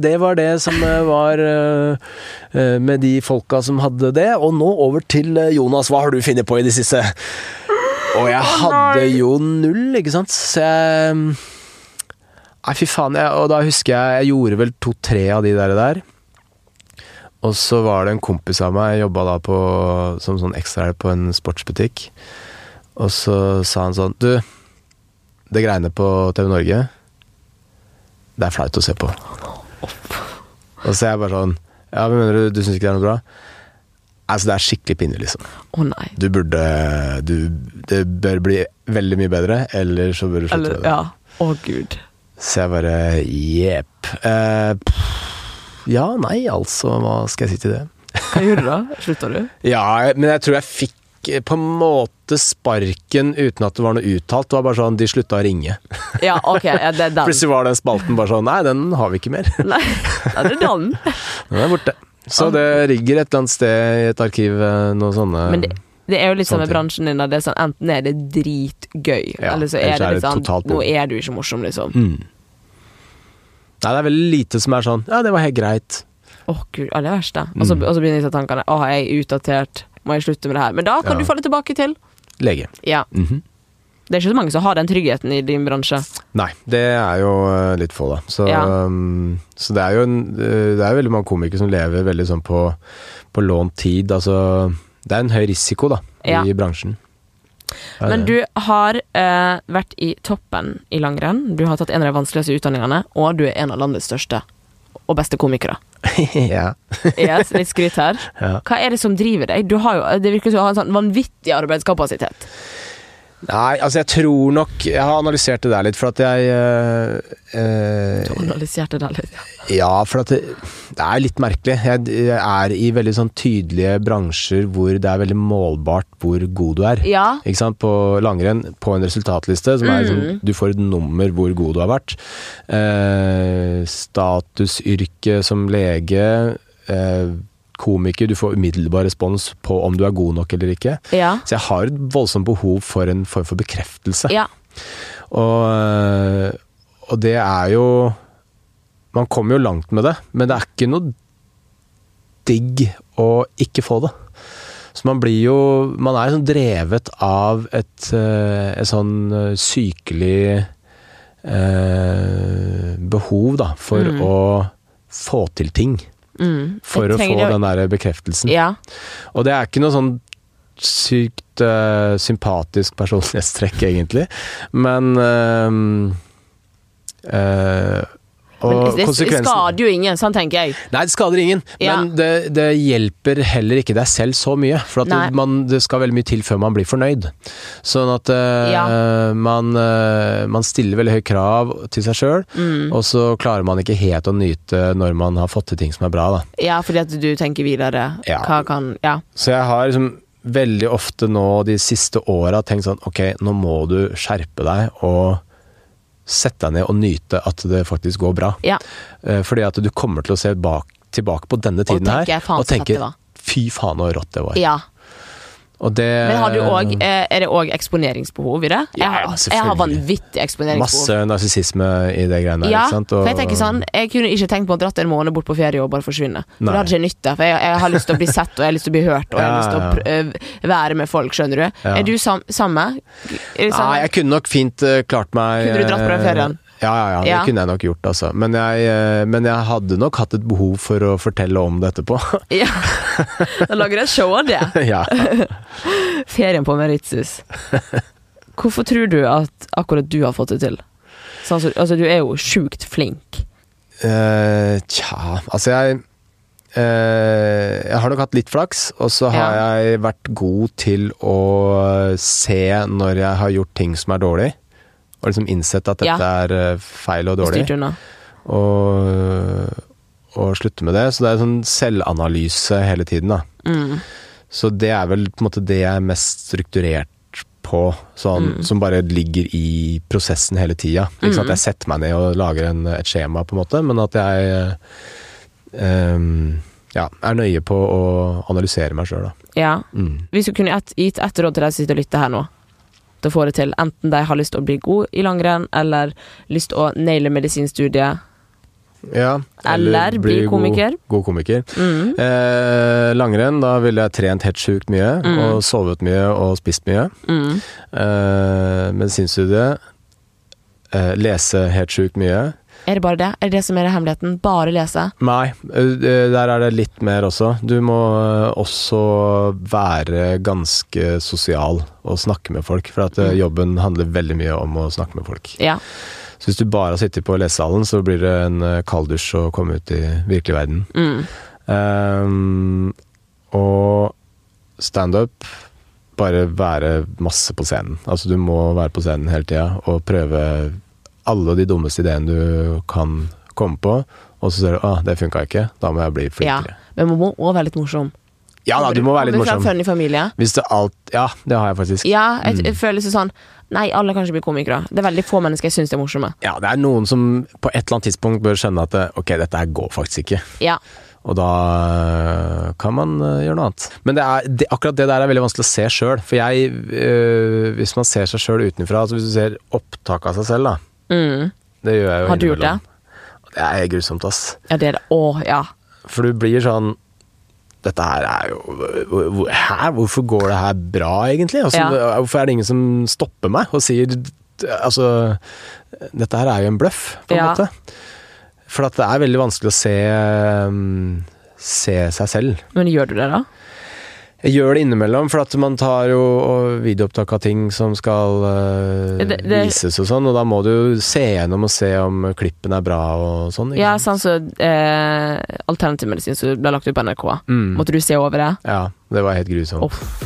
Det var det som eh, var eh, eh, med de folka som hadde det. Og nå over til eh, Jonas. Hva har du funnet på i det siste? Og jeg hadde jo null, ikke sant. Så jeg Nei, fy faen. Jeg, og da husker jeg jeg gjorde vel to-tre av de der. der. Og så var det en kompis av meg, jobba da på, som sånn ekstrahjelp på en sportsbutikk. Og så sa han sånn Du, det greiene på TV Norge, det er flaut å se på. Og så er jeg bare sånn Ja, men mener du, du syns ikke det er noe bra? Altså, det er skikkelig pinlig, liksom.
Å nei.
Du burde du, Det bør bli veldig mye bedre, eller så bør du slutte
Eller
med det.
Ja. Å, gud.
Så jeg bare Jepp. Eh, pff, ja, nei, altså. Hva skal jeg si til det?
Hva gjorde du da? Slutta du?
Ja, men jeg tror jeg fikk eh, på en måte sparken uten at det var noe uttalt. Det var bare sånn, de slutta å ringe.
Ja, OK. Ja, det er den.
Plutselig var den spalten bare sånn, nei, den har vi ikke mer.
Nei, ja, det er den.
Den er borte. Så det ligger et eller annet sted i et arkiv, eh, noe sånne
Men det, det er jo litt sånn med
Sånne
bransjen din at det er sånn, enten er det dritgøy,
Ja,
eller så er
ellers
det
er
litt
det
sånn
totalt bom.
Nå er du ikke morsom, liksom. Å,
mm. Nei, det er veldig lite som er sånn, ja, det var helt greit.
gud. Ja, det er verst, da. Og så
Mm.
og så begynner disse tankene. Å, er jeg utdatert? Må jeg slutte med det her? Men da kan
Ja.
du få det tilbake til.
Lege.
Ja.
Mhm.
Det er ikke så mange som har den tryggheten i din bransje.
Nei, det er jo eh, litt få, da. Så,
Ja.
um, så det er jo en, eh, det er jo veldig mange komikere som lever veldig sånn på, på lånt tid. Altså, det er en høy risiko, da,
Ja.
i bransjen. Det er
Men
det.
du har eh, vært i toppen i langrenn. Du har tatt en av de vanskeligste utdanningene, og du er en av landets største og beste komikere.
ja.
Yes, litt skryt her.
Ja.
Hva er det som driver deg? Du har jo, det virker som du har en sånn vanvittig arbeidskapasitet.
Nei, altså jeg tror nok Jeg har analysert det der litt, for at jeg eh, eh,
Du analyserte det litt.
Ja, for at det, det er litt merkelig. Jeg, jeg er i veldig sånn tydelige bransjer hvor det er veldig målbart hvor god du er.
Ja.
Ikke sant? På langrenn, på en resultatliste, som er liksom, du får et nummer hvor god du har vært. Eh, statusyrke som lege, eh, komiker, du får umiddelbar respons på om du er god nok eller ikke.
Ja.
Så jeg har et voldsomt behov for en form for bekreftelse.
ja.
Og, eh, og det er jo Man kommer jo langt med det, men det er ikke noe digg å ikke få det. Så man blir jo Man er sånn drevet av et, eh, et sånn eh, sykelig eh, behov, da, for å få til ting.
Mm.
For
Jeg
å få
trenger å-
den der bekreftelsen.
ja.
Og det er ikke noe sånn sykt eh, sympatisk personlighetstrekk, egentlig. Men eh, eh,
Men
Og
det det
konsekvensen
skader jo ingen, sånn tenker jeg.
Nei, det skader ingen,
Ja.
men det, det hjelper heller ikke deg selv så mye. For at
Nei.
man, det skal veldig mye til før man blir fornøyd. Sånn at eh,
Ja.
man, eh, man stiller veldig høye krav til seg sjøl,
Mm.
og så klarer man ikke helt å nyte når man har fått til ting som er bra. da.
Ja, fordi at du tenker videre.
Ja.
Hva kan Ja.
Så jeg har liksom veldig ofte nå de siste åra tenkt sånn Ok, nå må du skjerpe deg og sette deg ned og nyte at det faktisk går bra.
ja.
Eh, Fordi at du kommer til å se bak, tilbake på denne tiden
tenke,
her
faen,
og
så fett
tenke
det var.
Fy faen, så rått det var.
ja.
Og det
Men har du òg eh, Er det òg eksponeringsbehov i det?
Ja,
jeg,
ja,
har- jeg har
selvfølgelig.
vanvittig eksponeringsbehov.
Masse narsissisme i det greiene der.
Ja,
ikke sant? Og-
for jeg tenker sånn Jeg kunne ikke tenkt på å dratt en måned bort på ferie og bare forsvinne. For
Nei.
det hadde ikke jeg nytte. For jeg, jeg har lyst til å bli sett, og jeg har lyst til å bli hørt, og jeg har
Ja,
lyst til å pr- øh, være med folk, skjønner du.
Ja.
Er du sam samme? Er det samme?
Nei, jeg kunne nok fint eh, klart meg
liksom- Kunne du dratt på den
eh,
ferien?
Ja, ja, ja, det
Ja.
kunne jeg nok gjort, altså. Men jeg, eh, men jeg hadde nok hatt et behov for å fortelle om det etterpå.
Ja. Da lager jeg et show av det.
ja.
Ferien på Mauritius. Hvorfor tror du at akkurat du har fått det til? Sånn, som- altså, du er jo sjukt flink.
Eh, tja, altså jeg eh, Jeg har nok hatt litt flaks, og så har
Ja.
jeg vært god til å se når jeg har gjort ting som er dårlig. Og liksom innsett at dette
Ja.
er eh, feil og
og
dårlig.
Styrt unna.
og, og slutte med det. Så det er sånn selvanalyse hele tiden, da.
Mm.
Så det er vel på en måte det jeg er mest strukturert på, sånn,
Mm.
som bare ligger i prosessen hele tida. Ikke sant? Jeg setter meg ned og lager en, et skjema, på en måte, men at jeg eh, em, ja, er nøye på å analysere meg sjøl, da.
Ja.
Mm.
Hvis du kunne et, gitt ett råd til deg som sitter og lytter her nå, til å få det til, enten de har lyst til å bli god i langrenn, eller lyst til å naile medisinstudiet
Ja,
Eller bli komiker.
God, god komiker.
mm.
Eh, langrenn, da ville jeg trent helt sjukt mye,
Mm.
og sovet mye og spist mye.
Mm.
Eh, medisinstudiet. Eh, lese helt sjukt mye.
Er det bare det? Er det det som er hemmeligheten? Bare lese?
Nei, eh, der er det litt mer også. Du må eh, også være ganske sosial og snakke med folk, for at eh, jobben handler veldig mye om å snakke med folk.
Ja.
Så hvis du bare har sittet på lesesalen, så blir det en eh, kalddusj å komme ut i virkelig verden.
Mm.
Um, og standup bare være masse på scenen. Altså du må være på scenen hele tida og prøve alle de dummeste ideene du kan komme på. Og så ser du ah, det funka ikke, da må jeg bli
ja.
flinkere.
Men man må òg være litt morsom.
Ja, da, du må være litt
Kommer fra en
morsom.
funny familie.
Hvis det alt Ja, det har jeg faktisk.
Ja,
Mm.
jeg, jeg føler seg sånn Nei, alle kan ikke bli komikere. Det er veldig få mennesker jeg syns er morsomme.
Ja, det er noen som på et eller annet tidspunkt bør skjønne at eh, ok, dette her går faktisk ikke.
Ja.
Og da øh, kan man øh, gjøre noe annet. Men det er, det, akkurat det der er veldig vanskelig å se sjøl. For jeg øh, Hvis man ser seg sjøl utenfra, altså hvis du ser opptak av seg selv, da.
Mm.
Det gjør jeg jo
Har du gjort
innimellom. Det er grusomt, ass.
ja, det er det. Å, ja.
For du blir sånn Dette her er jo hvor- hvor- Hæ? Hvorfor går det her bra, egentlig? Altså,
Ja.
Hvorfor er det ingen som stopper meg og sier Altså, dette her er jo en bløff, på en
Ja.
måte. For at det er veldig vanskelig å se øhm, Se seg selv.
Men gjør du det, da?
Jeg gjør det innimellom, for at man tar jo og videoopptak av ting som skal eh,
Det- det-
vises og sånn, og da må du jo se gjennom og se om klippen er bra og sånn. ikke
Ja,
sant?
sånn som eh, alternativmedisin som ble lagt ut på NRK.
Mm.
Måtte du se over det?
ja, det var helt grusomt.
Uff.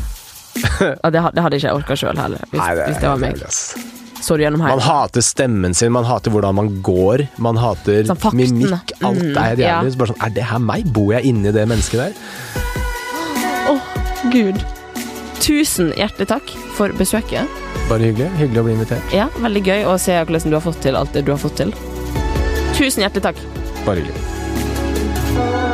Ja, det, ha- det hadde ikke jeg orka sjøl heller, hvis,
Nei,
hvis det var
helt
meg.
jævlig, ass.
Så du gjennom
Man
her?
hater stemmen sin, man hater hvordan man går, man hater
Sånn fakten.
mimikk. Alt
Mm,
er helt
ja.
jævlig. Så bare sånn, er det her meg? Bor jeg inni det mennesket der?
Å, gud. Tusen hjertelig takk for besøket.
Bare hyggelig. Hyggelig å bli invitert.
Ja, Veldig gøy å se hvordan du har fått til alt det du har fått til. Tusen hjertelig takk.
Bare hyggelig.